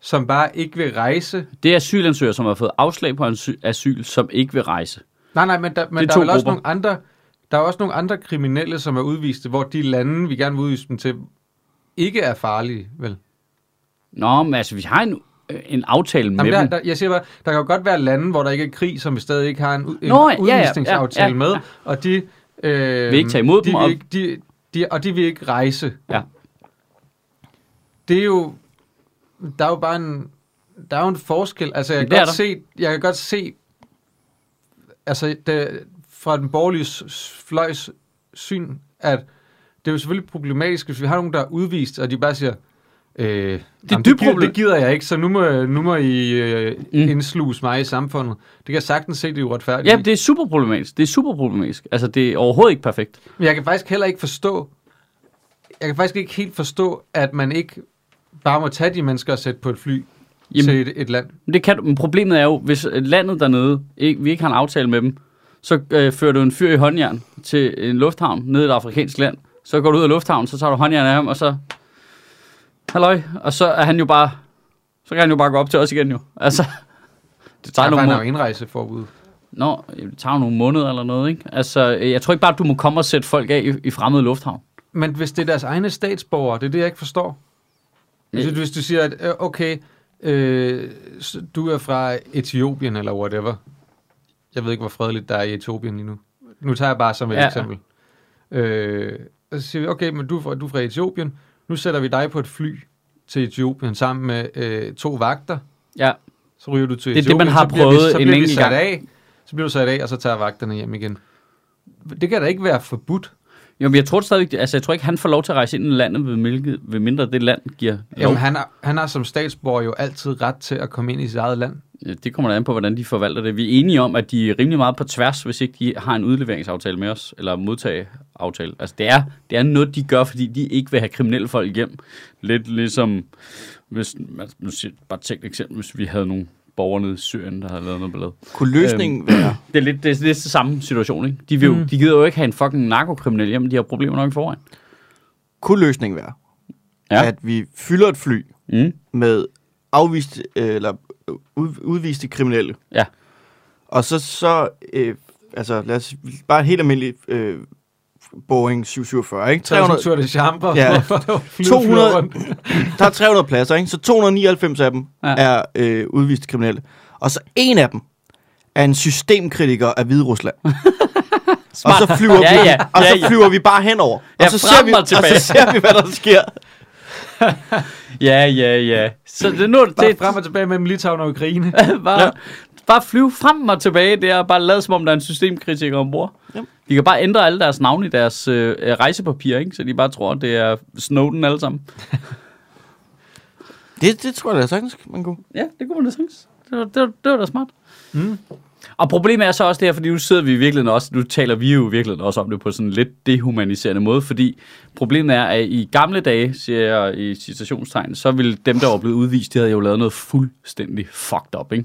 Speaker 1: som bare ikke vil rejse.
Speaker 2: Det er asylansøgere, som har fået afslag på asy- asyl, som ikke vil rejse.
Speaker 1: Nej, nej, men der, men
Speaker 2: Det er
Speaker 1: der er
Speaker 2: to
Speaker 1: vel også
Speaker 2: grupper.
Speaker 1: nogle andre, der er også nogle andre kriminelle, som er udviste, hvor de lande, vi gerne vil udvise dem til, ikke er farlige, vel?
Speaker 2: Nå, men altså, vi har en, øh, en aftale med
Speaker 1: Jamen, der,
Speaker 2: dem.
Speaker 1: der, jeg siger bare, der kan jo godt være lande, hvor der ikke er krig, som vi stadig ikke har en, u- en
Speaker 2: Nå, ja, ja, ja,
Speaker 1: udvisningsaftale
Speaker 2: ja, ja.
Speaker 1: med, og de... Øh,
Speaker 2: Vil ikke tage imod
Speaker 1: de
Speaker 2: dem,
Speaker 1: Vil
Speaker 2: og-
Speaker 1: ikke, de, de, og de vil ikke rejse.
Speaker 2: Ja.
Speaker 1: Det er jo... Der er jo bare en... Der er jo en forskel. Altså, jeg kan,
Speaker 2: Det er
Speaker 1: godt
Speaker 2: der.
Speaker 1: se, jeg kan godt se... Altså, det, fra den borgerlige s- s- fløjs syn, at det er jo selvfølgelig problematisk, hvis vi har nogen, der er udvist, og de bare siger, øh, det,
Speaker 2: dybt
Speaker 1: det, gider,
Speaker 2: problem-
Speaker 1: det gider jeg ikke, så nu må, nu må I øh, mm.
Speaker 2: Mm.
Speaker 1: indsluse mig i samfundet. Det kan jeg sagtens se, det er uretfærdigt.
Speaker 2: Ja, det er super problematisk. Det er super problematisk. Altså, det er overhovedet ikke perfekt.
Speaker 1: Men jeg kan faktisk heller ikke forstå, jeg kan faktisk ikke helt forstå, at man ikke bare må tage de mennesker og sætte på et fly Jamen.
Speaker 2: Jamen-
Speaker 1: til et, et land.
Speaker 2: Men, det kan, du- men problemet er jo, hvis øh, landet dernede, ikke, vi ikke har en aftale med dem, så øh, fører du en fyr i håndjern til en lufthavn nede i et afrikansk land. Så går du ud af lufthavnen, så tager du håndjern af ham, og så... Halløj. Og så er han jo bare... Så kan han jo bare gå op til os igen jo. Altså, det
Speaker 1: Der
Speaker 2: tager nogle
Speaker 1: er jo
Speaker 2: måneder.
Speaker 1: indrejseforbud.
Speaker 2: Nå, jamen, det tager jo nogle måneder eller noget, ikke? Altså, øh, jeg tror ikke bare, at du må komme og sætte folk af i, i fremmede lufthavn.
Speaker 1: Men hvis det er deres egne statsborgere, det er det, jeg ikke forstår. Hvis,
Speaker 2: Øh.
Speaker 1: hvis du siger, at øh, okay, øh, s- du er fra Etiopien eller whatever. Jeg ved ikke, hvor fredeligt der er i Etiopien lige nu. Nu tager jeg bare som et
Speaker 2: Ja.
Speaker 1: ja. eksempel. Øh, og så siger vi, okay, men du er, fra, du er fra Etiopien. Nu sætter vi dig på et fly til Etiopien sammen med øh, to vagter.
Speaker 2: Ja.
Speaker 1: Så ryger du til
Speaker 2: Det er det,
Speaker 1: Etiopien.
Speaker 2: man har
Speaker 1: så bliver
Speaker 2: prøvet
Speaker 1: vi, så
Speaker 2: en
Speaker 1: bliver vi
Speaker 2: enkelt
Speaker 1: sat
Speaker 2: gang.
Speaker 1: af. Så bliver du sat af, og så tager vagterne hjem igen. Det kan da ikke være forbudt.
Speaker 2: Jo, men jeg tror stadigvæk, altså jeg tror ikke, han får lov til at rejse ind i landet, ved, hvilket, ved mindre det land giver lov.
Speaker 1: Jamen, han, har, han har som statsborger jo altid ret til at komme ind i sit eget land.
Speaker 2: Ja, Det kommer da an på, hvordan de forvalter det. Vi er enige om, at de er rimelig meget på tværs, hvis ikke de har en udleveringsaftale med os, eller modtageaftale. Altså det er, det er noget, de gør, fordi de ikke vil have kriminelle folk hjem. Lidt ligesom, hvis, man- nu siger, bare tænk et eksempel, hvis vi havde nogle borgere nede i Syrien, der havde lavet noget ballade.
Speaker 3: Kunne løsningen øhm. være...
Speaker 2: Det er lidt det, er lidt det samme situation, ikke? De, vil jo,
Speaker 1: Mm.
Speaker 2: mm. de gider jo ikke have en fucking narkokriminel hjem, de har problemer nok i forvejen.
Speaker 3: Kunne løsningen være,
Speaker 2: Ja.
Speaker 3: ja. at vi fylder et fly
Speaker 2: Mm.
Speaker 3: med afviste, øh, eller øh, ud, udviste kriminelle.
Speaker 2: Ja.
Speaker 3: Og så, så øh, altså lad os bare et helt almindeligt øh, Boeing 747, ikke?
Speaker 1: 300
Speaker 3: 300,
Speaker 1: tur de chambre,
Speaker 3: Ja.
Speaker 1: hvorfor der flyver
Speaker 3: 200
Speaker 1: rundt.
Speaker 3: der er 300 pladser, ikke? Så 299 af dem
Speaker 2: Ja.
Speaker 3: ja. er øh, udviste kriminelle. Og så en af dem er en systemkritiker af Hviderusland. og så flyver vi,
Speaker 2: Ja, ja.
Speaker 3: og
Speaker 2: Ja,
Speaker 3: så
Speaker 2: ja.
Speaker 3: flyver vi bare henover.
Speaker 2: Ja,
Speaker 3: og, så
Speaker 2: frem
Speaker 3: ser vi,
Speaker 2: og
Speaker 3: og så
Speaker 2: tilbage.
Speaker 3: ser vi, hvad der sker.
Speaker 2: Ja, ja, ja. Så det, nu, er det,
Speaker 1: Bare
Speaker 2: det,
Speaker 1: frem og tilbage mellem Litauen og Ukraine.
Speaker 2: bare, ja. bare flyve frem og tilbage der, og bare lade som om, der er en systemkritiker ombord.
Speaker 3: Jamen.
Speaker 2: De kan bare ændre alle deres navne i deres øh, øh, rejsepapirer, ikke? så de bare tror, det er Snowden alle sammen.
Speaker 3: Det, det tror jeg da sagtens, man kunne.
Speaker 2: Ja, det kunne man da synes. Det var, det var, det var da smart.
Speaker 1: Mm.
Speaker 2: Og problemet er så også det her, fordi nu sidder vi i virkeligheden også, nu taler vi jo i virkeligheden også om det på sådan en lidt dehumaniserende måde, fordi problemet er, at i gamle dage, siger jeg i citationstegn, så ville dem, der var blevet udvist, de havde jo lavet noget fuldstændig fucked up, ikke?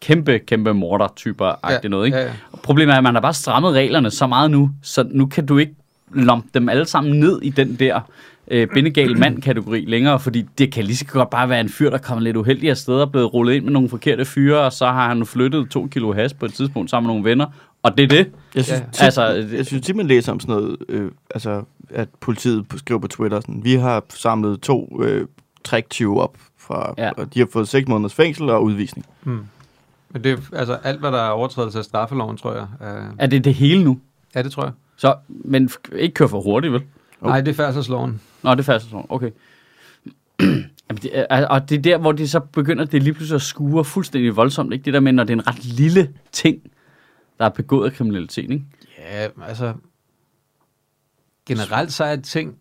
Speaker 2: Kæmpe, kæmpe morder-typer-agtigt
Speaker 1: Ja,
Speaker 2: noget, ikke?
Speaker 1: ja, ja.
Speaker 2: Problemet er, at man har bare strammet reglerne så meget nu, så nu kan du ikke lompe dem alle sammen ned i den der øh, bindegal mand-kategori længere, fordi det kan lige så godt bare være en fyr, der kommer lidt uheldig afsted og er blevet rullet ind med nogle forkerte fyre, og så har han flyttet to kilo has på et tidspunkt sammen med nogle venner, og det er det.
Speaker 3: Jeg synes,
Speaker 1: Ja.
Speaker 3: ja. tit,
Speaker 2: Altså,
Speaker 3: altså,
Speaker 2: øh,
Speaker 3: jeg synes tit, man læser om sådan noget, øh, altså, at politiet på- skriver på Twitter, sådan, vi har samlet to øh, træktyve op fra,
Speaker 2: Ja.
Speaker 3: ja. og de har fået 6 måneders fængsel og udvisning.
Speaker 1: Mm. Men det er altså alt, hvad der er overtrædelse af straffeloven, tror jeg. Øh,
Speaker 2: Er det det hele nu?
Speaker 1: ja, det tror jeg.
Speaker 2: Så, men f- ikke køre for hurtigt, vel?
Speaker 3: Jo.
Speaker 1: Nej, det er færdselsloven.
Speaker 2: Nå, det er færdselsloven. Okay. Jamen, det er, og det er der, hvor det så begynder, det lige pludselig at skure fuldstændig voldsomt. Ikke? Det der med, når det er en ret lille ting, der er begået af kriminalitet. Ikke?
Speaker 1: Ja, altså... Generelt så er ting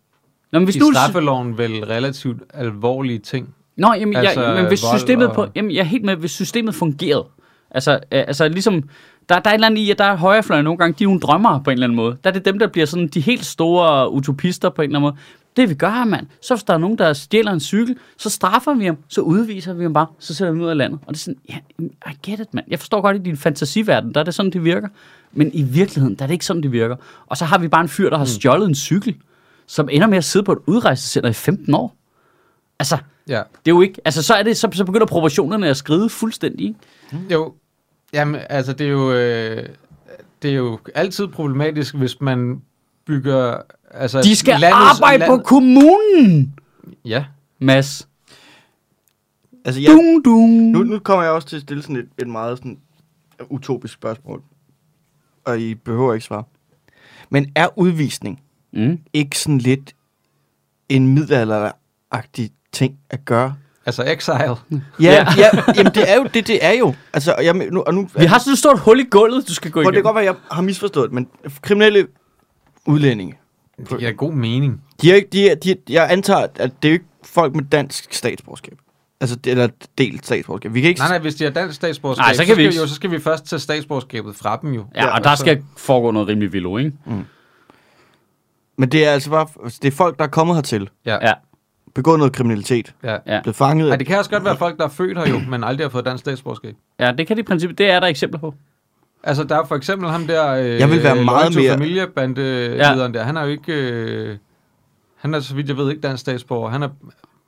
Speaker 2: Nå, men hvis
Speaker 1: i
Speaker 2: nu,
Speaker 1: straffeloven vel relativt alvorlige ting.
Speaker 2: Nå, jamen, altså,
Speaker 1: Altså,
Speaker 2: jeg, men hvis
Speaker 1: vold
Speaker 2: systemet på,
Speaker 1: og-
Speaker 2: jamen, jeg er helt med, hvis systemet fungerede. Altså, øh, altså ligesom, der, der er et eller andet i, at der er højrefløjen nogle gange, de er nogle drømmere på en eller anden måde. Der er det dem, der bliver sådan de helt store utopister på en eller anden måde. Det vi gør, mand, så hvis der er nogen, der stjæler en cykel, så straffer vi ham, så udviser vi ham bare, så sætter vi ham ud af landet. Og det er sådan, ja, I get it, mand. Jeg forstår godt, i din fantasiverden, der er det sådan, det virker. Men i virkeligheden, der er det ikke sådan, det virker. Og så har vi bare en fyr, der har
Speaker 1: Mm.
Speaker 2: stjålet en cykel, som ender med at sidde på et udrejsecenter i 15 år. Altså,
Speaker 1: Ja.
Speaker 2: det er jo ikke, altså så, er det, så, så begynder proportionerne at skride fuldstændig. ikke?
Speaker 1: Mm. Jo, jamen, altså det er jo, øh, det er jo altid problematisk, hvis man bygger... Altså,
Speaker 2: De skal arbejde på kommunen,
Speaker 1: Ja,
Speaker 2: Mads.
Speaker 3: Altså, jeg,
Speaker 2: Dung, dung.
Speaker 3: nu, nu kommer jeg også til at stille sådan et, et meget sådan utopisk spørgsmål, og I behøver ikke svare. Men er udvisning
Speaker 2: Mm.
Speaker 3: ikke sådan lidt en middelalderagtig ting at gøre?
Speaker 1: altså Exile.
Speaker 3: Ja,
Speaker 2: Ja.
Speaker 3: ja. ja jamen, det er jo det, det er jo. Altså, og jeg, men- nu, og nu,
Speaker 2: Vi har sådan et stort hul i gulvet, du skal gå
Speaker 3: Prøv, det kan
Speaker 2: igennem.
Speaker 3: godt være, jeg har misforstået det, men kriminelle udlændinge,
Speaker 1: Det giver god mening.
Speaker 3: de er ikke, de er, de er, jeg antager, at det er jo ikke folk med dansk statsborgerskab. Altså, det- eller delt statsborgerskab. Vi kan ikke...
Speaker 1: Nej, nej, hvis de har dansk statsborgerskab,
Speaker 2: Nej, så
Speaker 1: så,
Speaker 2: kan
Speaker 1: skal
Speaker 2: vi ikke-
Speaker 1: jo, så skal vi først tage statsborgerskabet fra dem jo.
Speaker 2: Ja, og
Speaker 3: altså-
Speaker 2: der skal foregå noget rimelig vildt, ikke?
Speaker 3: Men det er altså bare... altså, Det er folk, der er kommet hertil,
Speaker 1: Ja, ja.
Speaker 2: Ja,
Speaker 3: begået noget kriminalitet,
Speaker 1: ja.
Speaker 2: ja.
Speaker 3: blevet fanget...
Speaker 1: Ej, det kan også godt være folk, der er født her jo, men aldrig har fået dansk statsborgerskab.
Speaker 2: ja det kan det i princippet. Det er der eksempler på.
Speaker 1: Altså, der er for eksempel ham der... Øh,
Speaker 3: Jeg vil være meget mere-
Speaker 1: familiebandelederen ja. der. Han er jo ikke... Øh, han er, så vidt jeg ved, ikke dansk statsborger. Han er...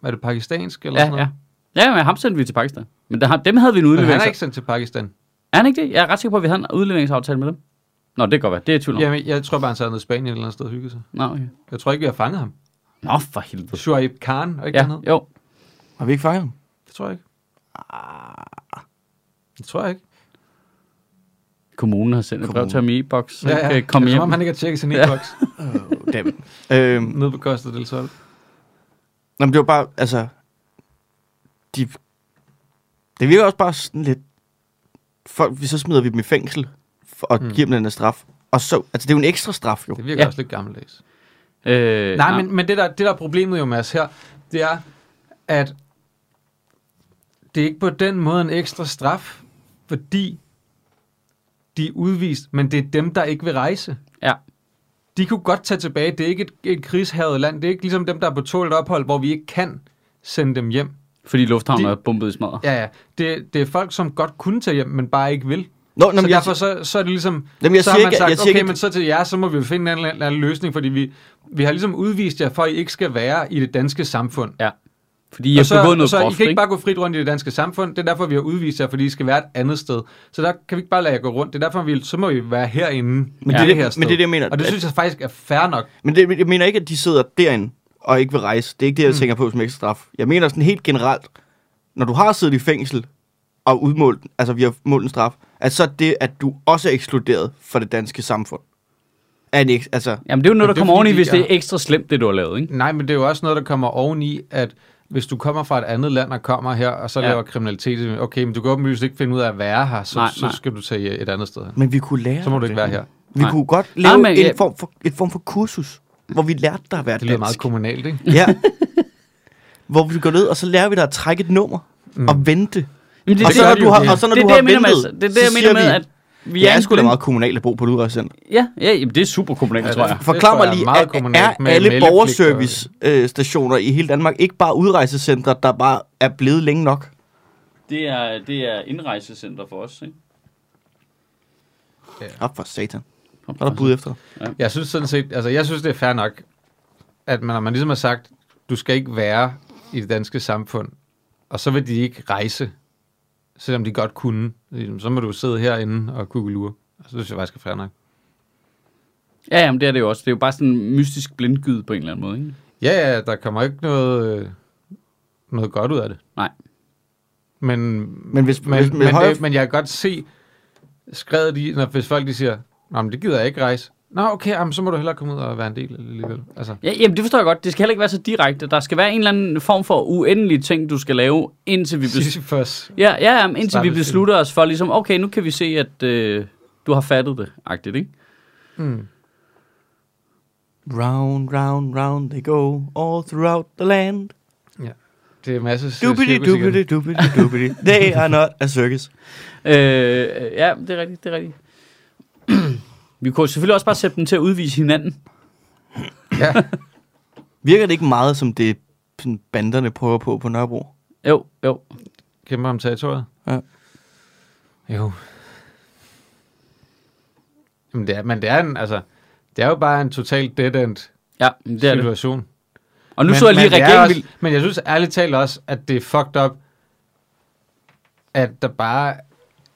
Speaker 1: Er det pakistansk eller
Speaker 2: Ja,
Speaker 1: sådan
Speaker 2: ja.
Speaker 1: noget?
Speaker 2: Ja, men ham sendte vi til Pakistan. Men der, dem havde vi en
Speaker 1: Men han
Speaker 2: udlevering.
Speaker 1: er ikke sendt til Pakistan.
Speaker 2: er han ikke det? Jeg er ret sikker på, at vi havde en udleveringsaftale med dem. Nå, det kan godt være. Det er jeg i tvivl om.
Speaker 1: Jamen, jeg tror bare, han sad ned i Spanien et eller andet sted og hyggede sig.
Speaker 2: Nå, okay.
Speaker 1: Jeg tror ikke, vi har fanget ham.
Speaker 2: Nå, for helvede.
Speaker 1: Shuaib Khan, og ikke
Speaker 2: Ja,
Speaker 1: ja. han hed?
Speaker 2: jo.
Speaker 3: Har vi ikke fanget dem?
Speaker 1: Det tror jeg ikke. Ah, Det tror jeg ikke.
Speaker 2: Kommunen har sendt et brev
Speaker 3: Kommunen.
Speaker 2: til ham i e-boks. så
Speaker 1: Ja,
Speaker 2: han
Speaker 1: ja.
Speaker 2: kan
Speaker 1: Det
Speaker 2: komme
Speaker 1: er,
Speaker 2: hjem.
Speaker 1: som om han ikke har tjekket sin
Speaker 2: Ja.
Speaker 1: e-boks. Ja.
Speaker 3: Oh, damn. øhm,
Speaker 1: Nede på Costa del Sol.
Speaker 3: Nå, men det var bare, altså... De, det virker også bare sådan lidt... Folk, så smider vi dem i fængsel for, og
Speaker 1: Mm.
Speaker 3: mm. giver dem den her straf. Og så, altså det er jo en ekstra straf jo.
Speaker 1: Det virker
Speaker 2: Ja.
Speaker 1: ja. også lidt gammeldags.
Speaker 2: Øh,
Speaker 1: Nej, men, men det, der, det der er problemet jo, Mads, her, det er, at det er ikke på den måde en ekstra straf, fordi de er udvist, men det er dem, der ikke vil rejse.
Speaker 2: Ja.
Speaker 1: De kunne godt tage tilbage. Det er ikke et, et krigshavet land. Det er ikke ligesom dem, der er på tålt ophold, hvor vi ikke kan sende dem hjem.
Speaker 2: Fordi lufthavnen
Speaker 1: De-
Speaker 2: er bumpet i smadret.
Speaker 1: Ja, ja. Det, det er folk, som godt kunne tage hjem, men bare ikke vil.
Speaker 3: Nå, nå,
Speaker 1: Nå, så
Speaker 3: men jeg,
Speaker 1: derfor så, så er det ligesom,
Speaker 3: Jamen, jeg
Speaker 1: så har
Speaker 3: siger
Speaker 1: man
Speaker 3: ikke-
Speaker 1: sagt,
Speaker 3: jeg siger
Speaker 1: okay,
Speaker 3: ikke, at-
Speaker 1: men så til jer, så må vi jo finde en eller anden- anden løsning, fordi vi, vi har ligesom udvist jer for, at I ikke skal være i det danske samfund.
Speaker 2: Ja. Fordi jeg
Speaker 1: og så,
Speaker 2: har begået noget
Speaker 1: så I
Speaker 2: groft,
Speaker 1: kan ikke
Speaker 2: ikke?
Speaker 1: bare gå frit rundt i det danske samfund. Det er derfor, vi har udvist jer, fordi I skal være et andet sted. Så der kan vi ikke bare lade jer gå rundt. Det er derfor, vi, så må vi være herinde. Men
Speaker 2: det er
Speaker 1: det,
Speaker 2: det-
Speaker 1: her
Speaker 3: men
Speaker 1: sted.
Speaker 3: det er det, jeg mener.
Speaker 1: Og det
Speaker 3: At-
Speaker 1: synes jeg faktisk er fair nok.
Speaker 3: men det, jeg mener ikke, at de sidder derinde og ikke vil rejse. Det er ikke det, jeg
Speaker 1: Mm.
Speaker 3: tænker på som ekstra straf. Jeg mener sådan helt generelt, når du har siddet i fængsel og udmålt, altså vi har målt en straf, at så er det, at du også er ekskluderet fra det danske samfund. Er en, eks- altså,
Speaker 2: Jamen, det er jo noget,
Speaker 1: Men
Speaker 2: der
Speaker 1: det er
Speaker 2: kommer
Speaker 1: fordi,
Speaker 2: oveni,
Speaker 1: de
Speaker 2: hvis det er
Speaker 1: er-
Speaker 2: ekstra slemt, det du har lavet, ikke?
Speaker 1: Nej, men det er jo også noget, der kommer oveni, at hvis du kommer fra et andet land og kommer her, og så
Speaker 2: Ja.
Speaker 1: ja. laver kriminalitet, okay, men du kan åbenlyst ikke finde ud af at være her, så,
Speaker 2: Nej,
Speaker 1: så
Speaker 2: nej.
Speaker 1: skal du tage et andet sted hen.
Speaker 3: men vi kunne lære
Speaker 1: Så må du ikke
Speaker 3: det.
Speaker 1: være Ah, her.
Speaker 3: Vi
Speaker 2: Nej.
Speaker 3: Nej. kunne godt lave
Speaker 2: men
Speaker 3: Nej, en
Speaker 2: jeg-
Speaker 3: form for, et form for kursus, hvor vi lærte dig at være
Speaker 1: Det lyder meget
Speaker 3: dansk.
Speaker 1: kommunalt, ikke?
Speaker 3: Ja. Hvor vi går ned, og så lærer vi dig at trække et nummer mm. og vente.
Speaker 2: Jamen, det,
Speaker 3: Og så,
Speaker 1: gør
Speaker 3: når
Speaker 1: de
Speaker 3: du
Speaker 1: jo.
Speaker 3: har, og så når
Speaker 2: det,
Speaker 3: du
Speaker 2: det,
Speaker 3: har
Speaker 2: jeg mener med,
Speaker 3: ventet,
Speaker 2: altså. det er det, jeg mener
Speaker 3: så
Speaker 2: med,
Speaker 3: siger
Speaker 2: at vi
Speaker 3: vi
Speaker 2: er
Speaker 3: er
Speaker 2: en
Speaker 3: sgu da
Speaker 2: blind-
Speaker 3: meget kommunalt at bo på et udrejsecenter.
Speaker 2: Ja, ja jamen, det er super kommunalt,
Speaker 1: Ja,
Speaker 2: tror
Speaker 1: det-
Speaker 2: jeg.
Speaker 3: Forklar
Speaker 1: tror
Speaker 3: mig
Speaker 1: jeg er
Speaker 3: lige,
Speaker 1: meget
Speaker 3: er,
Speaker 1: kommunalt
Speaker 3: er
Speaker 1: med
Speaker 3: alle
Speaker 1: meldepligt
Speaker 3: borgerservice-stationer i hele Danmark ikke bare udrejsecentre, der bare er blevet længe nok?
Speaker 2: Det er, det er indrejsecenter for os, ikke?
Speaker 3: Op for satan. Der er der bud efter.
Speaker 1: Jeg synes sådan set, altså jeg synes, det er fair nok, at man, når man ligesom har sagt, du skal ikke være i det danske samfund, og så vil de ikke rejse, selvom de godt kunne. Jamen, Så må du sidde herinde og kugelure. Så synes jeg faktisk er fair nok.
Speaker 2: Ja, jamen, det er det jo også. Det er jo bare sådan en mystisk blindgyde på en eller anden måde, ikke?
Speaker 1: Ja, ja, der kommer ikke noget... øh, noget godt ud af det.
Speaker 2: Nej.
Speaker 1: Men,
Speaker 3: Men hvis,
Speaker 1: men,
Speaker 3: hvis,
Speaker 1: men,
Speaker 3: med
Speaker 1: men,
Speaker 3: højre,
Speaker 1: det, men jeg kan godt se skrevet i, når, hvis folk de siger, Nå, men det gider jeg ikke rejse. Nå, okay, jamen, så må du hellere komme ud og være en del af det alligevel. Altså,
Speaker 2: Ja, jamen, det forstår jeg godt. Det skal heller ikke være så direkte. Der skal være en eller anden form for uendelig ting, du skal lave, indtil vi, bes-
Speaker 1: Sisyphus.
Speaker 2: ja, ja, jamen, indtil vi
Speaker 1: Stakkels
Speaker 2: beslutter os for, ligesom, okay, nu kan vi se, at øh, du har fattet det, agtigt, ikke?
Speaker 1: Mm.
Speaker 3: Round, round, round they go all throughout the land.
Speaker 1: Det er masser af
Speaker 3: Dubidi,
Speaker 1: cirkus igen.
Speaker 3: dubidi, dubidi, dubidi. They are not a circus.
Speaker 2: Øh, ja, det er rigtigt, det er rigtigt. vi kunne selvfølgelig også bare sætte dem til at udvise hinanden.
Speaker 1: Ja.
Speaker 3: Virker det ikke meget som det, sådan banderne prøver på på Nørrebro?
Speaker 2: Jo, jo.
Speaker 1: Kæmper om territoriet?
Speaker 3: Ja.
Speaker 1: Jo. Jamen det er, men det er, en, altså, det er jo bare en total dead-end
Speaker 2: Ja, det er det.
Speaker 1: situation. Det.
Speaker 2: Og nu men, så jeg lige, at
Speaker 1: men, det er
Speaker 2: regeringen
Speaker 1: også,
Speaker 2: ville...
Speaker 1: men jeg synes ærligt talt også, at det er fucked up, at der bare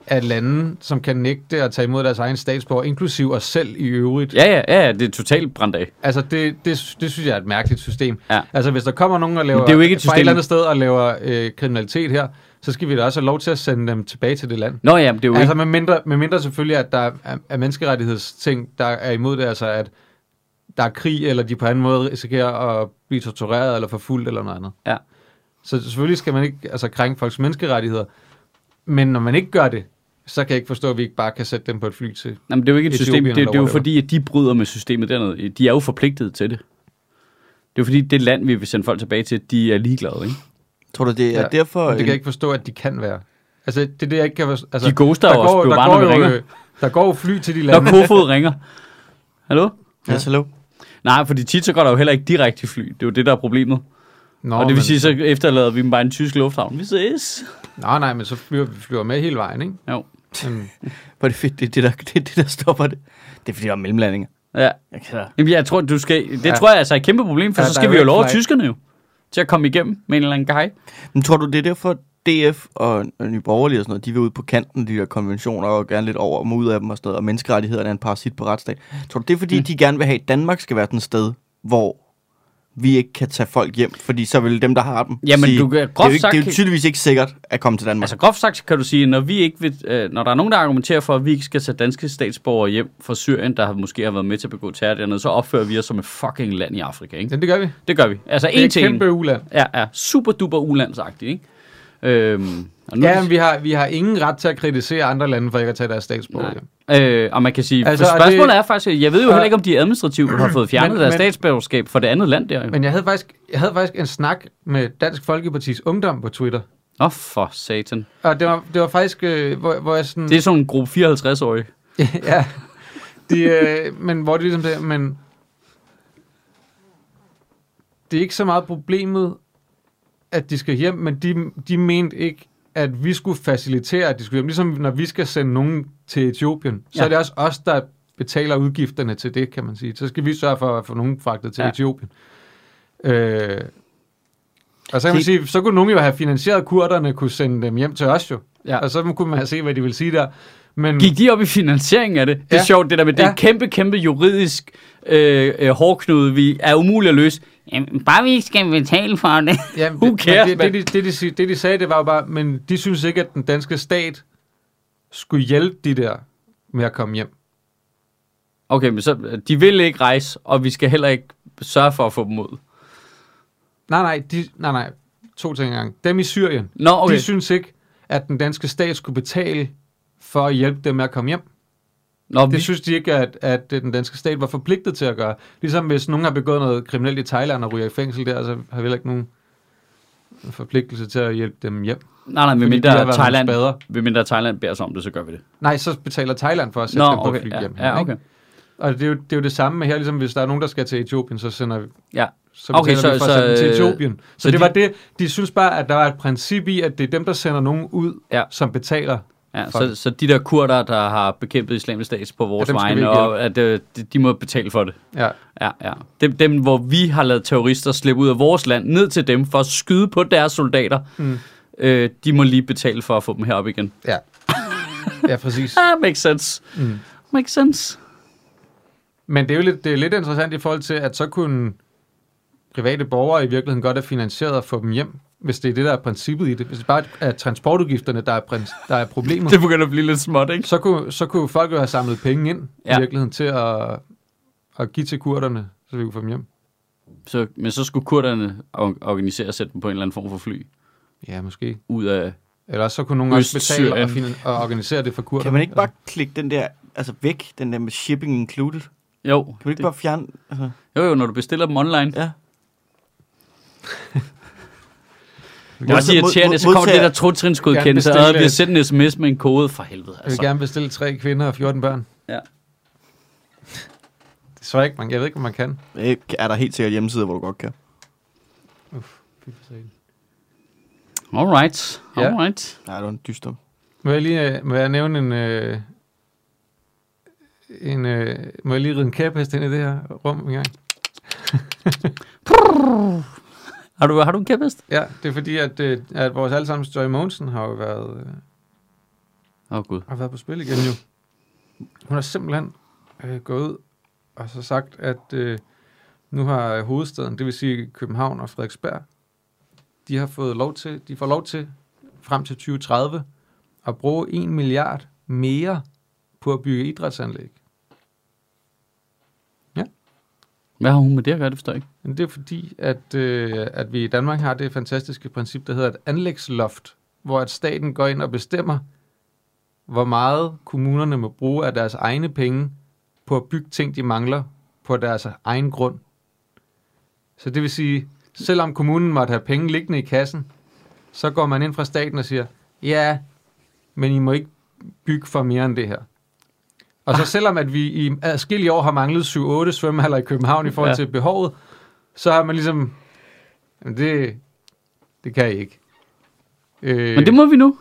Speaker 1: er lande, som kan nægte at tage imod deres egen statsborger, inklusiv os selv i øvrigt.
Speaker 2: Ja, ja, ja, ja, det er totalt brændt af.
Speaker 1: Altså, det, det, det synes jeg er et mærkeligt system.
Speaker 2: Ja.
Speaker 1: Altså, hvis der kommer nogen og laver,
Speaker 2: Men det er jo ikke et
Speaker 1: fra
Speaker 2: system.
Speaker 1: et eller andet sted og laver øh, kriminalitet her, så skal vi da også have lov til at sende dem tilbage til det land.
Speaker 2: Nå ja, men det er jo
Speaker 1: Altså
Speaker 2: altså,
Speaker 1: med mindre, med mindre selvfølgelig, at der er, er menneskerettighedsting, der er imod det, altså at der er krig, eller de på anden måde risikerer at blive tortureret eller forfulgt eller noget andet.
Speaker 2: Ja.
Speaker 1: Så selvfølgelig skal man ikke altså, krænke folks menneskerettigheder, men når man ikke gør det, så kan jeg ikke forstå, at vi ikke bare kan sætte dem på et fly til.
Speaker 2: ikke, jamen, det er jo ikke et system.
Speaker 1: Etiopien
Speaker 2: Det,
Speaker 1: eller
Speaker 2: det er jo
Speaker 1: whatever.
Speaker 2: fordi, at de bryder med systemet dernede. De er jo forpligtet til det. Det er jo fordi, det land, vi vil sende folk tilbage til, de er ligeglade, ikke?
Speaker 3: Tror du, det er
Speaker 1: Ja,
Speaker 3: derfor... øh,
Speaker 1: Men det kan
Speaker 3: en-
Speaker 1: jeg ikke forstå, at de kan være. Altså, det er det, jeg ikke kan forstå. Altså,
Speaker 2: De ghoster jo også, bliver bare, når vi
Speaker 1: jo,
Speaker 2: ringer.
Speaker 1: øh, der går jo fly til de
Speaker 2: Når
Speaker 1: lande.
Speaker 2: Kofod ringer. Hallo?
Speaker 1: Ja.
Speaker 3: Yes, hello.
Speaker 2: Nej, fordi tit så går der jo heller ikke direkte i fly. Det er jo det, der er problemet.
Speaker 1: Nå,
Speaker 2: Nå, og det
Speaker 1: men-
Speaker 2: vil sige, så efterlader vi dem bare i en tysk lufthavn. Vi ses.
Speaker 1: Nå, nej, men så flyver vi flyver med hele vejen, ikke?
Speaker 2: Jo.
Speaker 1: Men,
Speaker 3: Hvor er det fedt, det er det, der, det, er det, der stopper det. Det er fordi, der er mellemlandinger.
Speaker 2: Ja.
Speaker 3: Jeg kan da-
Speaker 2: Jamen, jeg tror, du skal... Det ja.
Speaker 1: Ja.
Speaker 2: tror jeg altså er et kæmpe problem, for
Speaker 1: Ja,
Speaker 2: så
Speaker 1: der
Speaker 2: skal
Speaker 1: er
Speaker 2: vi jo
Speaker 1: red
Speaker 2: love
Speaker 1: flag.
Speaker 2: tyskerne jo til at komme igennem med en eller anden guy.
Speaker 3: Men tror du, det er derfor DF og og Nye Borgerlige og sådan noget, de vil ud på kanten af de der konventioner og gerne lidt over og ud af dem og sådan noget, og menneskerettighederne er en parasit på retsstat. Tror du, det er fordi, mm. de gerne vil have, at Danmark skal være den sted, hvor vi ikke kan tage folk hjem, fordi så vil dem, der har dem,
Speaker 2: Jamen,
Speaker 3: sige,
Speaker 2: du kan-
Speaker 3: det, er jo
Speaker 2: groft
Speaker 3: ikke, det er jo
Speaker 2: sagt-
Speaker 3: tydeligvis ikke sikkert at komme til Danmark.
Speaker 2: Altså groft sagt kan du sige, når vi ikke vil, øh, når der er nogen, der argumenterer for, at vi ikke skal tage danske statsborgere hjem fra Syrien, der har, måske har været med til at begå terror dernede, så opfører vi os som et fucking land i Afrika, ikke?
Speaker 1: ja, det gør vi.
Speaker 2: Det gør vi. Altså
Speaker 1: Det er
Speaker 2: en
Speaker 1: et
Speaker 2: til en.
Speaker 1: kæmpe uland.
Speaker 2: Ja, ja. Super duper ulandsagtigt, ikke? Øhm, og nu,
Speaker 1: Ja, men vi har, vi har ingen ret til at kritisere andre lande for ikke at tage deres statsborger.
Speaker 2: Nej.
Speaker 1: hjem.
Speaker 2: Øh, og man kan sige, altså,
Speaker 1: Altså, og
Speaker 2: spørgsmålet det...
Speaker 1: det-
Speaker 2: er faktisk, jeg ved jo
Speaker 1: Og-
Speaker 2: heller ikke, om de administrativt har fået fjernet men,
Speaker 1: Men-
Speaker 2: deres
Speaker 1: men-
Speaker 2: statsborgerskab for det andet land der. Åh,
Speaker 1: Men jeg havde, faktisk, jeg havde faktisk en snak med Dansk Folkepartis Ungdom på Twitter.
Speaker 2: oh, for satan.
Speaker 1: Og det var, det var faktisk, øh, hvor, hvor jeg sådan...
Speaker 2: Det er sådan en gruppe 54-årige.
Speaker 1: ja. De, øh, men hvor det ligesom sagde, men... Det er ikke så meget problemet, at de skal hjem, men de, de mente ikke, at vi skulle facilitere, at de skulle hjem. Ligesom når vi skal sende nogen til Etiopien, så
Speaker 2: Ja.
Speaker 1: ja. er det også os, der betaler udgifterne til det, kan man sige. Så skal vi sørge for at få nogen fragtet til
Speaker 2: Ja.
Speaker 1: ja. Etiopien. Øh, og så kan man
Speaker 3: Det-
Speaker 1: sige, så kunne nogen jo have finansieret kurderne, kunne sende dem hjem til os jo.
Speaker 2: Ja.
Speaker 1: Ja. Og så kunne man have se, hvad de ville sige der. Men,
Speaker 2: Gik de op i finansieringen af det? Det er ja.
Speaker 1: Ja.
Speaker 2: sjovt, det der med, det er
Speaker 1: Ja.
Speaker 2: en kæmpe, kæmpe juridisk øh, øh, hårdknude, vi er umuligt at løse.
Speaker 4: Jamen, bare vi ikke skal betale for det.
Speaker 1: Ja,
Speaker 2: Who cares,
Speaker 1: det,
Speaker 2: mand?
Speaker 1: det, det, de- det, de, sig- det, de sagde, det var jo bare, men de synes ikke, at den danske stat skulle hjælpe de der med at komme hjem.
Speaker 2: Okay, men så, de vil ikke rejse, og vi skal heller ikke sørge for at få dem ud.
Speaker 1: Nej, nej, de, nej, nej. To ting engang. Dem i Syrien,
Speaker 2: Nå, okay.
Speaker 1: de synes ikke, at den danske stat skulle betale for at hjælpe dem med at komme hjem.
Speaker 2: Nå, vi,
Speaker 1: Det synes de ikke, at, at øh, den danske stat var forpligtet til at gøre. Ligesom hvis nogen har begået noget kriminelt i Thailand og ryger i fængsel der, så har vi heller ikke nogen forpligtelse til at hjælpe dem hjem.
Speaker 2: nej, nej,
Speaker 1: fordi de har
Speaker 2: medmindre
Speaker 1: været
Speaker 2: Thailand,
Speaker 1: nogle spader.
Speaker 2: medmindre Thailand beder os om det, så gør vi det.
Speaker 1: Nej, så betaler Thailand for at sætte
Speaker 2: Nå,
Speaker 1: dem på okay,
Speaker 2: okay.
Speaker 1: fly
Speaker 2: Ja,
Speaker 1: hjem.
Speaker 2: ja,
Speaker 1: ikke?
Speaker 2: okay.
Speaker 1: Og det er, jo, det er jo det samme med her, ligesom hvis der er nogen, der skal til Etiopien, så sender vi,
Speaker 2: Ja.
Speaker 1: så
Speaker 2: Okay,
Speaker 1: betaler okay, så, vi
Speaker 2: så-
Speaker 1: for at sende dem til
Speaker 2: så, øh,
Speaker 1: Etiopien. Så,
Speaker 2: så
Speaker 1: så det
Speaker 2: de-
Speaker 1: var det, de synes bare, at der var et princip i, at det er dem, der sender nogen ud,
Speaker 2: Ja.
Speaker 1: ja. som betaler.
Speaker 2: Ja,
Speaker 1: Fuck.
Speaker 2: så, så de der kurder, der har bekæmpet islamisk stat på vores
Speaker 1: Ja, dem
Speaker 2: ja,
Speaker 1: skal vi
Speaker 2: vegne,
Speaker 1: ikke
Speaker 2: og at, øh, de, de må betale for det.
Speaker 1: Ja.
Speaker 2: Ja, ja. Dem, dem, hvor vi har lavet terrorister slippe ud af vores land, ned til dem for at skyde på deres soldater, mm.
Speaker 1: Mm.
Speaker 2: øh, de må lige betale for at få dem herop igen.
Speaker 1: Ja. Ja, præcis.
Speaker 2: Ah, makes sense.
Speaker 1: Mm.
Speaker 2: Makes sense.
Speaker 1: Men det er jo lidt, det er lidt interessant i forhold til, at så kunne private borgere i virkeligheden godt have finansieret at få dem hjem, hvis det er det, der er princippet i det. Hvis det bare er transportudgifterne, der er, prins- der er problemet,
Speaker 2: Det begynder at blive lidt småt, ikke?
Speaker 1: så, kunne, så kunne folk jo have samlet penge ind ja.
Speaker 2: Ja.
Speaker 1: i virkeligheden til at, at give til kurderne, så vi kunne få dem hjem.
Speaker 2: Så, men så skulle kurderne or- organisere og sætte dem på en eller anden form for fly
Speaker 1: Ja, måske.
Speaker 2: ud af...
Speaker 1: Eller også så kunne nogen også betale og,
Speaker 2: Østsyrien.
Speaker 1: finan- og organisere det for kurderne.
Speaker 3: Kan man ikke bare klikke den der, altså væk, den der med shipping included? Kan
Speaker 2: Jo,
Speaker 3: man ikke
Speaker 2: det,
Speaker 3: bare fjerne, altså,
Speaker 2: jo, jo, når du bestiller dem online.
Speaker 3: ja.
Speaker 2: Det er også irriterende, så kommer det der trottrinsgodkendelse,
Speaker 1: Gerne bestille
Speaker 2: og bliver
Speaker 1: et-
Speaker 2: sendt en sms med en kode for helvede.
Speaker 1: Jeg vil
Speaker 2: Altså.
Speaker 1: gerne bestille tre kvinder og 14 børn.
Speaker 2: Ja.
Speaker 1: Det tror jeg ikke, man, jeg ved ikke, om man kan.
Speaker 3: Det Øh, er der helt sikkert hjemmesider, hvor du godt kan.
Speaker 2: Alright,
Speaker 1: Ja.
Speaker 2: alright.
Speaker 3: Nej, det var en dyster.
Speaker 1: Må jeg lige øh, må jeg nævne en... Øh, en øh, må jeg lige ride en kæphest ind i det her rum en gang?
Speaker 2: Har du, har du en kæphest?
Speaker 1: Ja, det er fordi, at, øh, at vores allesammens Joy Monsen har jo været, øh,
Speaker 2: Åh oh, gud.
Speaker 1: har været på spil igen jo. Hun har simpelthen øh, gået ud og så sagt, at øh, nu har hovedstaden, det vil sige København og Frederiksberg, de har fået lov til, de får lov til frem til 2030 at bruge 1 milliard mere på at bygge idrætsanlæg.
Speaker 2: Hvad har hun med det at gøre? Det forstår jeg ikke.
Speaker 1: Men det er fordi, at, øh, at vi i Danmark har det fantastiske princip, der hedder et anlægsloft, hvor at staten går ind og bestemmer, hvor meget kommunerne må bruge af deres egne penge på at bygge ting, de mangler på deres egen grund. Så det vil sige, selvom kommunen måtte have penge liggende i kassen, så går man ind fra staten og siger, ja, men I må ikke bygge for mere end det her. Og
Speaker 2: Ah.
Speaker 1: så selvom at vi i adskillige år har manglet 7-8 svømmehaller i København i forhold
Speaker 2: Ja.
Speaker 1: ja. til behovet, så har man ligesom, jamen det, det kan I ikke. Øh,
Speaker 2: Men det må vi nu.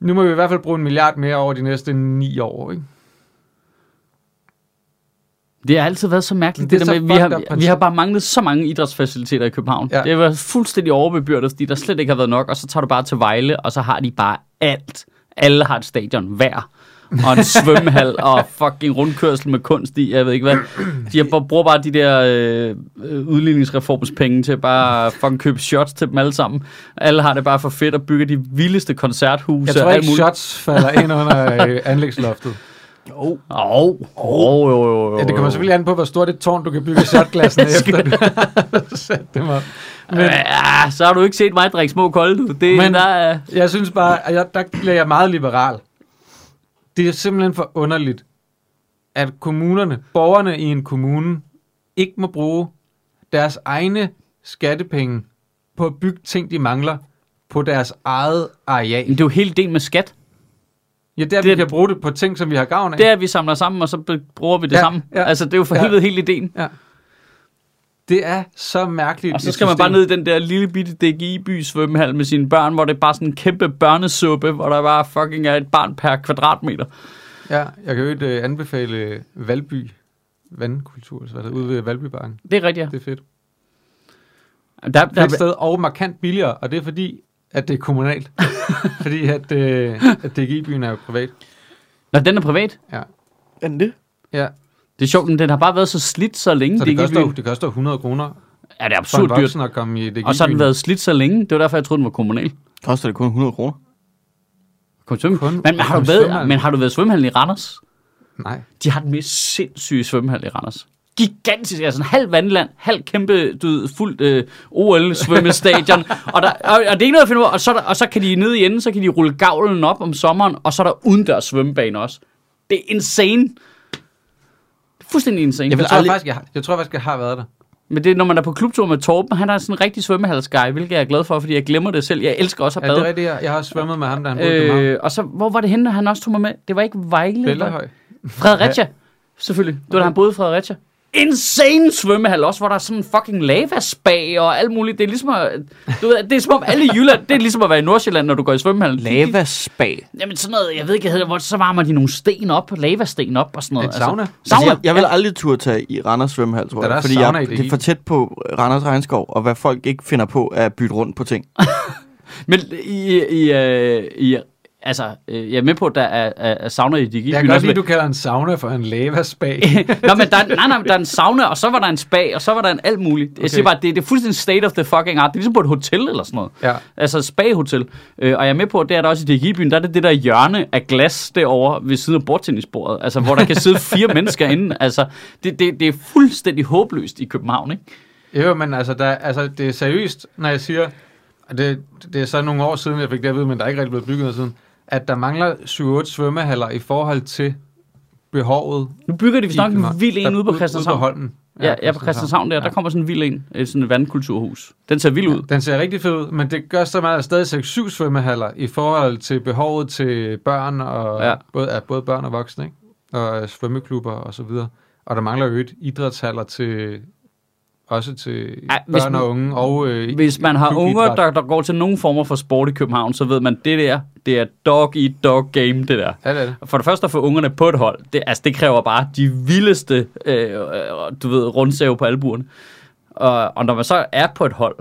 Speaker 1: Nu må vi i hvert fald bruge en milliard mere over de næste 9 år, ikke?
Speaker 2: Det har altid været så mærkeligt,
Speaker 1: Men
Speaker 2: det,
Speaker 1: det
Speaker 2: det
Speaker 1: er
Speaker 2: der
Speaker 1: så fucked
Speaker 2: med, at vi
Speaker 1: up
Speaker 2: har, vi
Speaker 1: princip.
Speaker 2: har bare manglet så mange idrætsfaciliteter i København.
Speaker 1: Ja.
Speaker 2: Ja. Det har været fuldstændig overbebyrdet, fordi der slet ikke har været nok, og så tager du bare til Vejle, og så har de bare alt. Alle har et stadion hver, og en svømmehal, og fucking rundkørsel med kunst i, jeg ved ikke hvad. De har bare, bruger bare de der øh, øh, udligningsreformspenge til at bare fucking købe shots til dem alle sammen. Alle har det bare for fedt og bygger de vildeste koncerthuse.
Speaker 1: Jeg tror
Speaker 2: og alt
Speaker 1: ikke,
Speaker 2: muligt.
Speaker 1: shots falder ind under øh, anlægsloftet.
Speaker 2: Åh, åh, jo, jo, jo, jo.
Speaker 1: Ja, det kommer selvfølgelig an på, hvor stort et tårn, du kan bygge shotglassen efter, du har sat dem op.
Speaker 2: Men, ja, Øh, ah, så har du ikke set mig drikke små kolde. ud. Det,
Speaker 1: Men-
Speaker 2: men, der, er-
Speaker 1: Jeg synes bare, at jeg, der bliver jeg meget liberal. Det er simpelthen for underligt, at kommunerne, borgerne i en kommune, ikke må bruge deres egne skattepenge på at bygge ting, de mangler på deres eget
Speaker 2: men
Speaker 1: areal.
Speaker 2: det er jo hele del med skat.
Speaker 1: Ja, der vi
Speaker 2: det-
Speaker 1: kan bruge det på ting, som vi har gavn af.
Speaker 2: Det er, at vi samler sammen, og så be- bruger vi det
Speaker 1: Ja,
Speaker 2: ja, sammen.
Speaker 1: ja.
Speaker 2: Ja, altså, det er jo for
Speaker 1: Ja.
Speaker 2: helvede hele ideen.
Speaker 1: Det er så mærkeligt.
Speaker 2: Og så
Speaker 1: et
Speaker 2: skal man
Speaker 1: system.
Speaker 2: bare ned i den der lille bitte DGI-by svømmehal med sine børn, hvor det er bare sådan en kæmpe børnesuppe, hvor der bare fucking er et barn per kvadratmeter.
Speaker 1: Ja, jeg kan jo ikke øh, anbefale Valby Vandkultur, så er det ude ved Valbybanken.
Speaker 2: Det er rigtigt,
Speaker 1: Det er fedt.
Speaker 2: ja. Der, der,
Speaker 1: Fedt sted og markant billigere, og det er fordi, at det er kommunalt. fordi at, øh, at DGI-byen er jo privat.
Speaker 2: Nå, den er privat.
Speaker 1: Ja.
Speaker 3: Er den det?
Speaker 1: Ja,
Speaker 2: Det er sjovt, men den har bare været så slidt så længe.
Speaker 1: så det,
Speaker 2: DGI
Speaker 1: koster,
Speaker 2: -byen.
Speaker 1: det koster 100 kroner
Speaker 2: Ja, det
Speaker 1: for
Speaker 2: er
Speaker 1: en
Speaker 2: absurd dyrt.
Speaker 1: voksen at komme i DGI-byen.
Speaker 2: Og så har den været slidt så længe. Det var derfor, jeg troede, den var kommunal.
Speaker 3: Koster det kun 100 kroner?
Speaker 2: Kom til.
Speaker 1: Kun-
Speaker 2: Men, men, har
Speaker 1: kun
Speaker 2: du været,
Speaker 1: svømmehallen.
Speaker 2: men har du været i svømmehallen i Randers?
Speaker 1: Nej,
Speaker 2: De har den mest sindssyge svømmehal i Randers. Gigantisk, altså en halv vandland, halv kæmpe, du ved, fuldt øh, OL-svømmestadion. og, der, og, og, det er ikke noget at finde ud af. Og så, er der, og så kan de nede i enden, så kan de rulle gavlen op om sommeren, og så er der udendørs svømmebane også. Det er insane. Det er fuldstændig
Speaker 1: jeg,
Speaker 2: insane.
Speaker 1: jeg,
Speaker 2: Jeg vil
Speaker 1: tror,
Speaker 2: aldrig...
Speaker 1: faktisk, jeg, har, jeg tror faktisk, jeg har været der.
Speaker 2: Men det er, når man er på klubtur med Torben, han er sådan en rigtig svømmehalsguy, hvilket jeg er glad for, fordi jeg glemmer det selv. Jeg elsker også at
Speaker 1: Ja, det er
Speaker 2: bade.
Speaker 1: rigtigt, jeg, jeg har svømmet med ham, da han boede i København.
Speaker 2: Øh, og så, hvor var det henne, han også tog mig med? Det var ikke Vejle. var-
Speaker 1: Bellahøj.
Speaker 2: Fredericia, selvfølgelig. Det var da han boede i Fredericia. Insane svømmehal også, hvor der er sådan en fucking lavaspa og alt muligt. Det er ligesom at, du ved, det er som om alle i Jylland, det er ligesom at være i Nordsjælland, når du går i svømmehallen.
Speaker 3: Lavaspa.
Speaker 2: Jamen sådan noget, jeg ved ikke, hvad hedder, hvor så varmer de nogle sten op, lavasten op og sådan noget.
Speaker 1: Et sauna.
Speaker 3: Altså,
Speaker 2: sauna.
Speaker 3: jeg, jeg vil aldrig turde tage i Randers svømmehal, tror
Speaker 1: Der er
Speaker 3: jeg, fordi
Speaker 1: sauna
Speaker 3: jeg,
Speaker 1: i det
Speaker 3: det er
Speaker 1: i.
Speaker 3: for tæt på Randers regnskov, og hvad folk ikke finder på at bytte rundt på ting.
Speaker 2: Men i, i, i, øh, i, Altså, øh, jeg er med på, at der er, er, er sauna i Digibyen.
Speaker 1: Jeg kan godt
Speaker 2: også,
Speaker 1: lide,
Speaker 2: men-
Speaker 1: at du kalder en sauna for en lavaspa.
Speaker 2: Nå, men der, er- nej, nej, men der er en sauna, og så var der en spa, og så var der en alt muligt. Okay.
Speaker 1: Okay.
Speaker 2: Jeg siger bare, det, det er fuldstændig state of the fucking art. Det er ligesom på et hotel eller sådan noget.
Speaker 1: Ja.
Speaker 2: Altså et spa-hotel. Øh, og jeg er med på, at det er der også i DG-byen, der er det det der hjørne af glas derovre ved siden af bordtennisbordet. Altså, hvor der kan sidde fire mennesker inde. Altså, det, det, det er fuldstændig håbløst i København, ikke?
Speaker 1: Jo, men altså, der, altså, det er seriøst, når jeg siger, og det, det er så nogle år siden, jeg fik det at vide, men der er ikke rigtig blevet bygget noget siden, at der mangler 7-8 svømmehaller i forhold til behovet.
Speaker 2: Nu bygger de vist nok en
Speaker 1: Mar-
Speaker 2: vild en
Speaker 1: der-
Speaker 2: ude på
Speaker 1: Ude på
Speaker 2: Christianshavn.
Speaker 1: Holmen.
Speaker 2: Ja, ja, på Christianshavn der, der kommer sådan en vild en. øh, Sådan et vandkulturhus. Den ser vild ud.
Speaker 1: Den ser rigtig fed ud, men det gør så meget, at der er stadig 6-7 svømmehaller i forhold til behovet til børn, og
Speaker 2: Ja.
Speaker 1: ja. både, ja, både børn og voksne, ikke? og øh, svømmeklubber og så videre. Og der mangler jo et idrætshaller til også til
Speaker 2: Ej,
Speaker 1: Ej,
Speaker 2: hvis
Speaker 1: børn
Speaker 2: man-
Speaker 1: og unge. Og, øh,
Speaker 2: Hvis man har unger,
Speaker 1: klubidræt.
Speaker 2: der, der går til nogen former for sport i København, så ved man, det der, det er dog eat dog game, det der.
Speaker 1: Ja, det er det.
Speaker 2: For det første at få ungerne på et hold, det, altså, det kræver bare de vildeste, øh, øh, du ved, rundsave på albuerne. Og, og når man så er på et hold,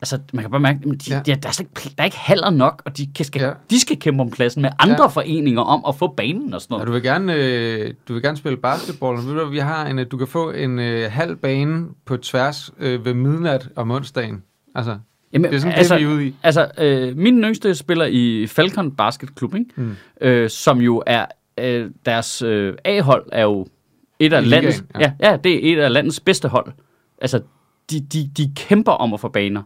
Speaker 2: altså man kan bare mærke, at de,
Speaker 1: Ja.
Speaker 2: ja. de, der, er slet ikke, pl- der er ikke halder nok, og de kan, skal, ja.
Speaker 1: Ja.
Speaker 2: de skal kæmpe om pladsen med andre ja.
Speaker 1: Ja.
Speaker 2: foreninger om at få banen og sådan
Speaker 1: Og
Speaker 2: noget.
Speaker 1: du vil gerne, øh, du vil gerne spille basketball. Men ved du, hvad, vi har en, øh, du kan få en øh, halv bane på tværs øh, ved midnat om onsdagen. Altså,
Speaker 2: Jamen,
Speaker 1: det er sådan altså,
Speaker 2: altså,
Speaker 1: det, vi er ude i.
Speaker 2: Altså, øh, min yngste spiller i Falcon Basket Club, ikke? Mm.
Speaker 1: Mm.
Speaker 2: Øh, som jo er, øh, deres øh, A-hold er jo et af
Speaker 1: I ligaen,
Speaker 2: landets, ja. Ja, ja, det er et af landets bedste hold. Altså, de, de, de kæmper om at få baner.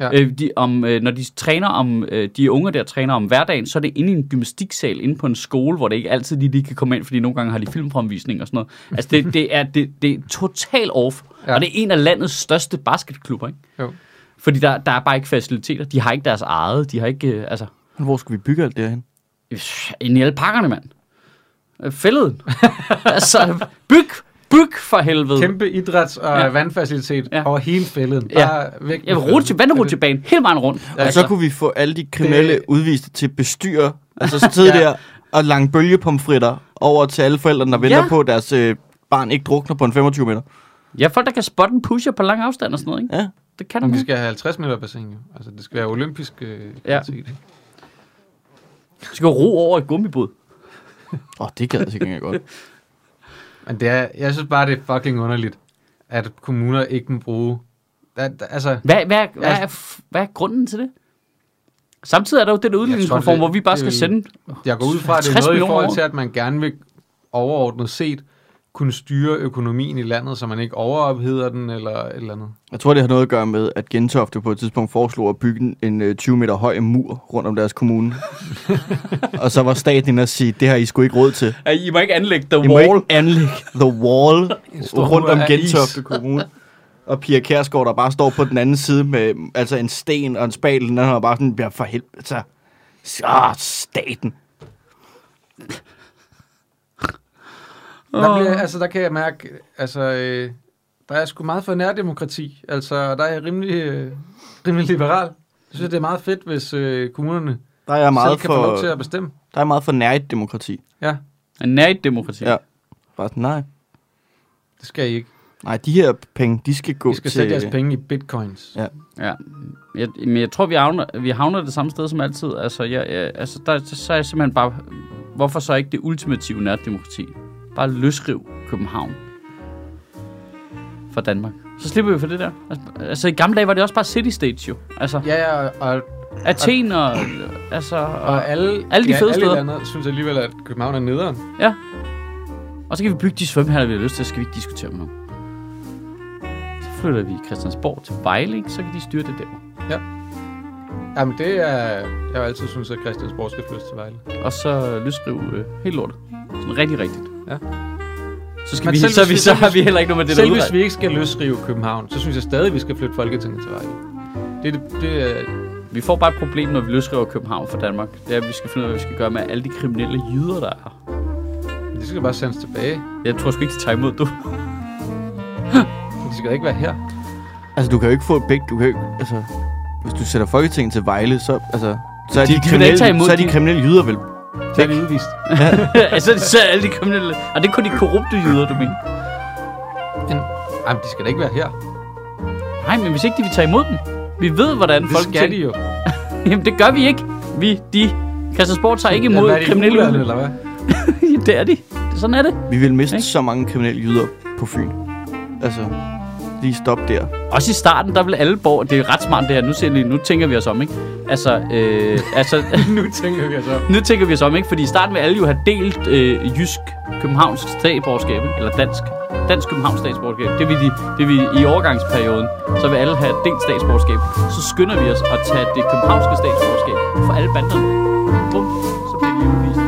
Speaker 2: Ja.
Speaker 1: Ja.
Speaker 2: Øh, de, om, øh, når de træner om, øh, de unge der træner om hverdagen, så er det inde i en gymnastiksal, inde på en skole, hvor det ikke altid lige, lige kan komme ind, fordi nogle gange har de filmfremvisning og sådan noget. Altså, det, det, er, det, det er total off, ja.
Speaker 1: Ja.
Speaker 2: og det er en af landets største basketklubber, ikke?
Speaker 1: Jo.
Speaker 2: Fordi der, der er bare ikke faciliteter. De har ikke deres eget. De har ikke, øh, altså...
Speaker 3: Men Hvor skal vi bygge alt det her hen?
Speaker 2: øh, Inde i alle pakkerne, mand. Øh, Fælleden. altså, byg, byg for helvede. Kæmpe.
Speaker 1: Kæmpe idræts- og
Speaker 2: Ja.
Speaker 1: ja. vandfacilitet
Speaker 2: Ja.
Speaker 1: ja. over hele fælden.
Speaker 2: Ja.
Speaker 1: Bare væk med
Speaker 2: Jeg vil
Speaker 1: fælden.
Speaker 2: rutsche, vandrutsjebanen hele vejen rundt. Altså,
Speaker 3: Og Altså, så kunne vi få alle de kriminelle
Speaker 1: altså- Det-
Speaker 3: udviste til bestyrer, altså sidde
Speaker 1: Ja.
Speaker 3: der og lange bølgepomfritter over til alle forældrene, der venter
Speaker 2: Ja.
Speaker 3: ja. på, at deres øh, barn ikke drukner på en 25 meter.
Speaker 2: Ja, folk, der kan spotte en pusher på lang afstand og sådan noget, ikke?
Speaker 3: Ja.
Speaker 2: Det kan du
Speaker 1: Men vi
Speaker 2: ikke.
Speaker 1: skal have 50 meter bassin, jo. Altså, det skal være olympisk øh,
Speaker 2: Ja.
Speaker 1: ja.
Speaker 2: Du skal ro over et gummibåd.
Speaker 3: Åh, oh, det gad jeg sikkert godt.
Speaker 1: Men det er, jeg synes bare, det er fucking underligt, at kommuner ikke må bruge... At, altså,
Speaker 2: Hvad, hvad, hvad, er, f- hvad er grunden til det? Samtidig er der jo den
Speaker 1: tror,
Speaker 2: udligningsreform,
Speaker 1: det-
Speaker 2: hvor vi bare skal
Speaker 1: det-
Speaker 2: sende...
Speaker 1: Jeg går ud fra, at det er noget
Speaker 2: 50
Speaker 1: i
Speaker 2: millioner
Speaker 1: forhold
Speaker 2: år.
Speaker 1: til, at man gerne vil overordnet set kunne styre økonomien i landet, så man ikke overopheder den eller et eller andet.
Speaker 3: Jeg tror, det har noget at gøre med, at Gentofte på et tidspunkt foreslog at bygge en øh, 20 meter høj mur rundt om deres kommune. og så var staten inde og sige, det har I sgu ikke råd til.
Speaker 2: I må ikke anlægge the
Speaker 3: I må ikke anlægge the wall
Speaker 1: stor
Speaker 3: rundt
Speaker 1: mur
Speaker 3: om
Speaker 1: af
Speaker 3: Gentofte
Speaker 1: is.
Speaker 3: Kommune. Og Pia Kærsgaard, der bare står på den anden side med altså en sten og en spatel, den har bare sådan, ja, for helvede, altså, ah, staten.
Speaker 1: Der, bliver, altså, der kan jeg mærke, altså, øh, der er sgu meget for nærdemokrati. Altså, der er jeg rimelig, øh, rimelig liberal. Jeg synes, det er meget fedt, hvis øh, kommunerne
Speaker 3: Der er
Speaker 1: selv
Speaker 3: meget
Speaker 1: kan få
Speaker 3: for,
Speaker 1: lov til at bestemme.
Speaker 3: der er meget for nært demokrati.
Speaker 1: Ja,
Speaker 2: Nært demokrati.
Speaker 3: Ja. Bare sådan, nej.
Speaker 1: det skal I ikke.
Speaker 3: Nej, de her penge, de skal gå
Speaker 1: I skal
Speaker 3: til...
Speaker 1: sætte jeres penge i bitcoins.
Speaker 3: Ja.
Speaker 2: Ja, jeg, men jeg tror, vi havner, vi havner det samme sted som altid. Altså, jeg, jeg, altså der, så er jeg simpelthen bare... Hvorfor så ikke det ultimative nærdemokrati? Bare løsriv København fra Danmark. Så slipper vi for det der. Altså, altså i gamle dage var det også bare city stage jo. Altså,
Speaker 1: Ja, ja og,
Speaker 2: Athen og... Altså, og,
Speaker 1: og alle,
Speaker 2: Alle de
Speaker 1: ja,
Speaker 2: fede
Speaker 1: alle
Speaker 2: steder.
Speaker 1: i landet synes alligevel, at København er nederen.
Speaker 2: ja. Og så kan vi bygge de svømmehaller, vi har lyst til. Så skal vi ikke diskutere med nogen. Så flytter vi Christiansborg til Vejle, ikke? så kan de styre det der.
Speaker 1: Jamen, det er... Jeg har altid synes, at Christiansborg skal flyttes til Vejle.
Speaker 2: og så løsskrive øh, helt lortet. Sådan rigtig rigtigt.
Speaker 1: Ja.
Speaker 2: Så, skal
Speaker 1: Men
Speaker 2: vi,
Speaker 1: selv
Speaker 2: så,
Speaker 1: hvis
Speaker 2: vi,
Speaker 1: vi-
Speaker 2: så har vi heller ikke noget med det
Speaker 1: Selv
Speaker 2: der
Speaker 1: hvis
Speaker 2: udred.
Speaker 1: vi ikke skal løsrive København, så synes jeg stadig, vi skal flytte Folketinget til Vejle. Det, er det, det er...
Speaker 2: Vi får bare et problem, når vi løsriver København fra Danmark. Det er, at vi skal finde ud af, hvad vi skal gøre med alle de kriminelle jyder, der er her.
Speaker 1: De skal bare sendes tilbage.
Speaker 2: Jeg tror sgu ikke, de tager imod, du.
Speaker 1: De skal da ikke være her.
Speaker 3: Altså, du kan jo ikke få begge, du kan jo ikke, altså... Hvis du sætter Folketinget til Vejle, så, altså, så er
Speaker 2: De
Speaker 3: de,
Speaker 2: kan da ikke
Speaker 3: kriminelle,
Speaker 2: tage imod
Speaker 3: så er de
Speaker 2: de-
Speaker 3: kriminelle jyder vel
Speaker 1: Så er de udvist.
Speaker 2: altså, så er alle de kriminelle... Og det er kun de korrupte jyder, du mener.
Speaker 1: Men, jamen, de skal da ikke være her.
Speaker 2: Nej, men hvis ikke de vil tage imod dem. Vi ved, hvordan
Speaker 1: Det
Speaker 2: folk
Speaker 1: skal de jo.
Speaker 2: Jamen, det gør vi ikke. Vi, de Christiansborg tager ikke
Speaker 1: Ja,
Speaker 2: imod
Speaker 1: hvad er det,
Speaker 2: kriminelle
Speaker 1: uland,
Speaker 2: udlændinge.
Speaker 1: eller hvad?
Speaker 2: det er de. Sådan er det.
Speaker 3: Vi vil miste
Speaker 2: Ikke?
Speaker 3: så mange kriminelle jyder på Fyn. Altså, lige stop der.
Speaker 2: Også i starten, der blev alle borg... Det er ret smart det her. Nu, ser vi, nu tænker vi os om, ikke? Altså, øh, altså,
Speaker 1: nu tænker jeg så.
Speaker 2: nu tænker vi os om, ikke? Fordi i starten vil alle jo have delt øh, jysk københavnsk statsborgerskab, ikke? eller dansk. Dansk Københavns statsborgerskab. Det vil, de, det vil i overgangsperioden, så vil alle have delt statsborgerskab. Så skynder vi os at tage det københavnske statsborgerskab for alle banderne. Bum, så bliver de udvist.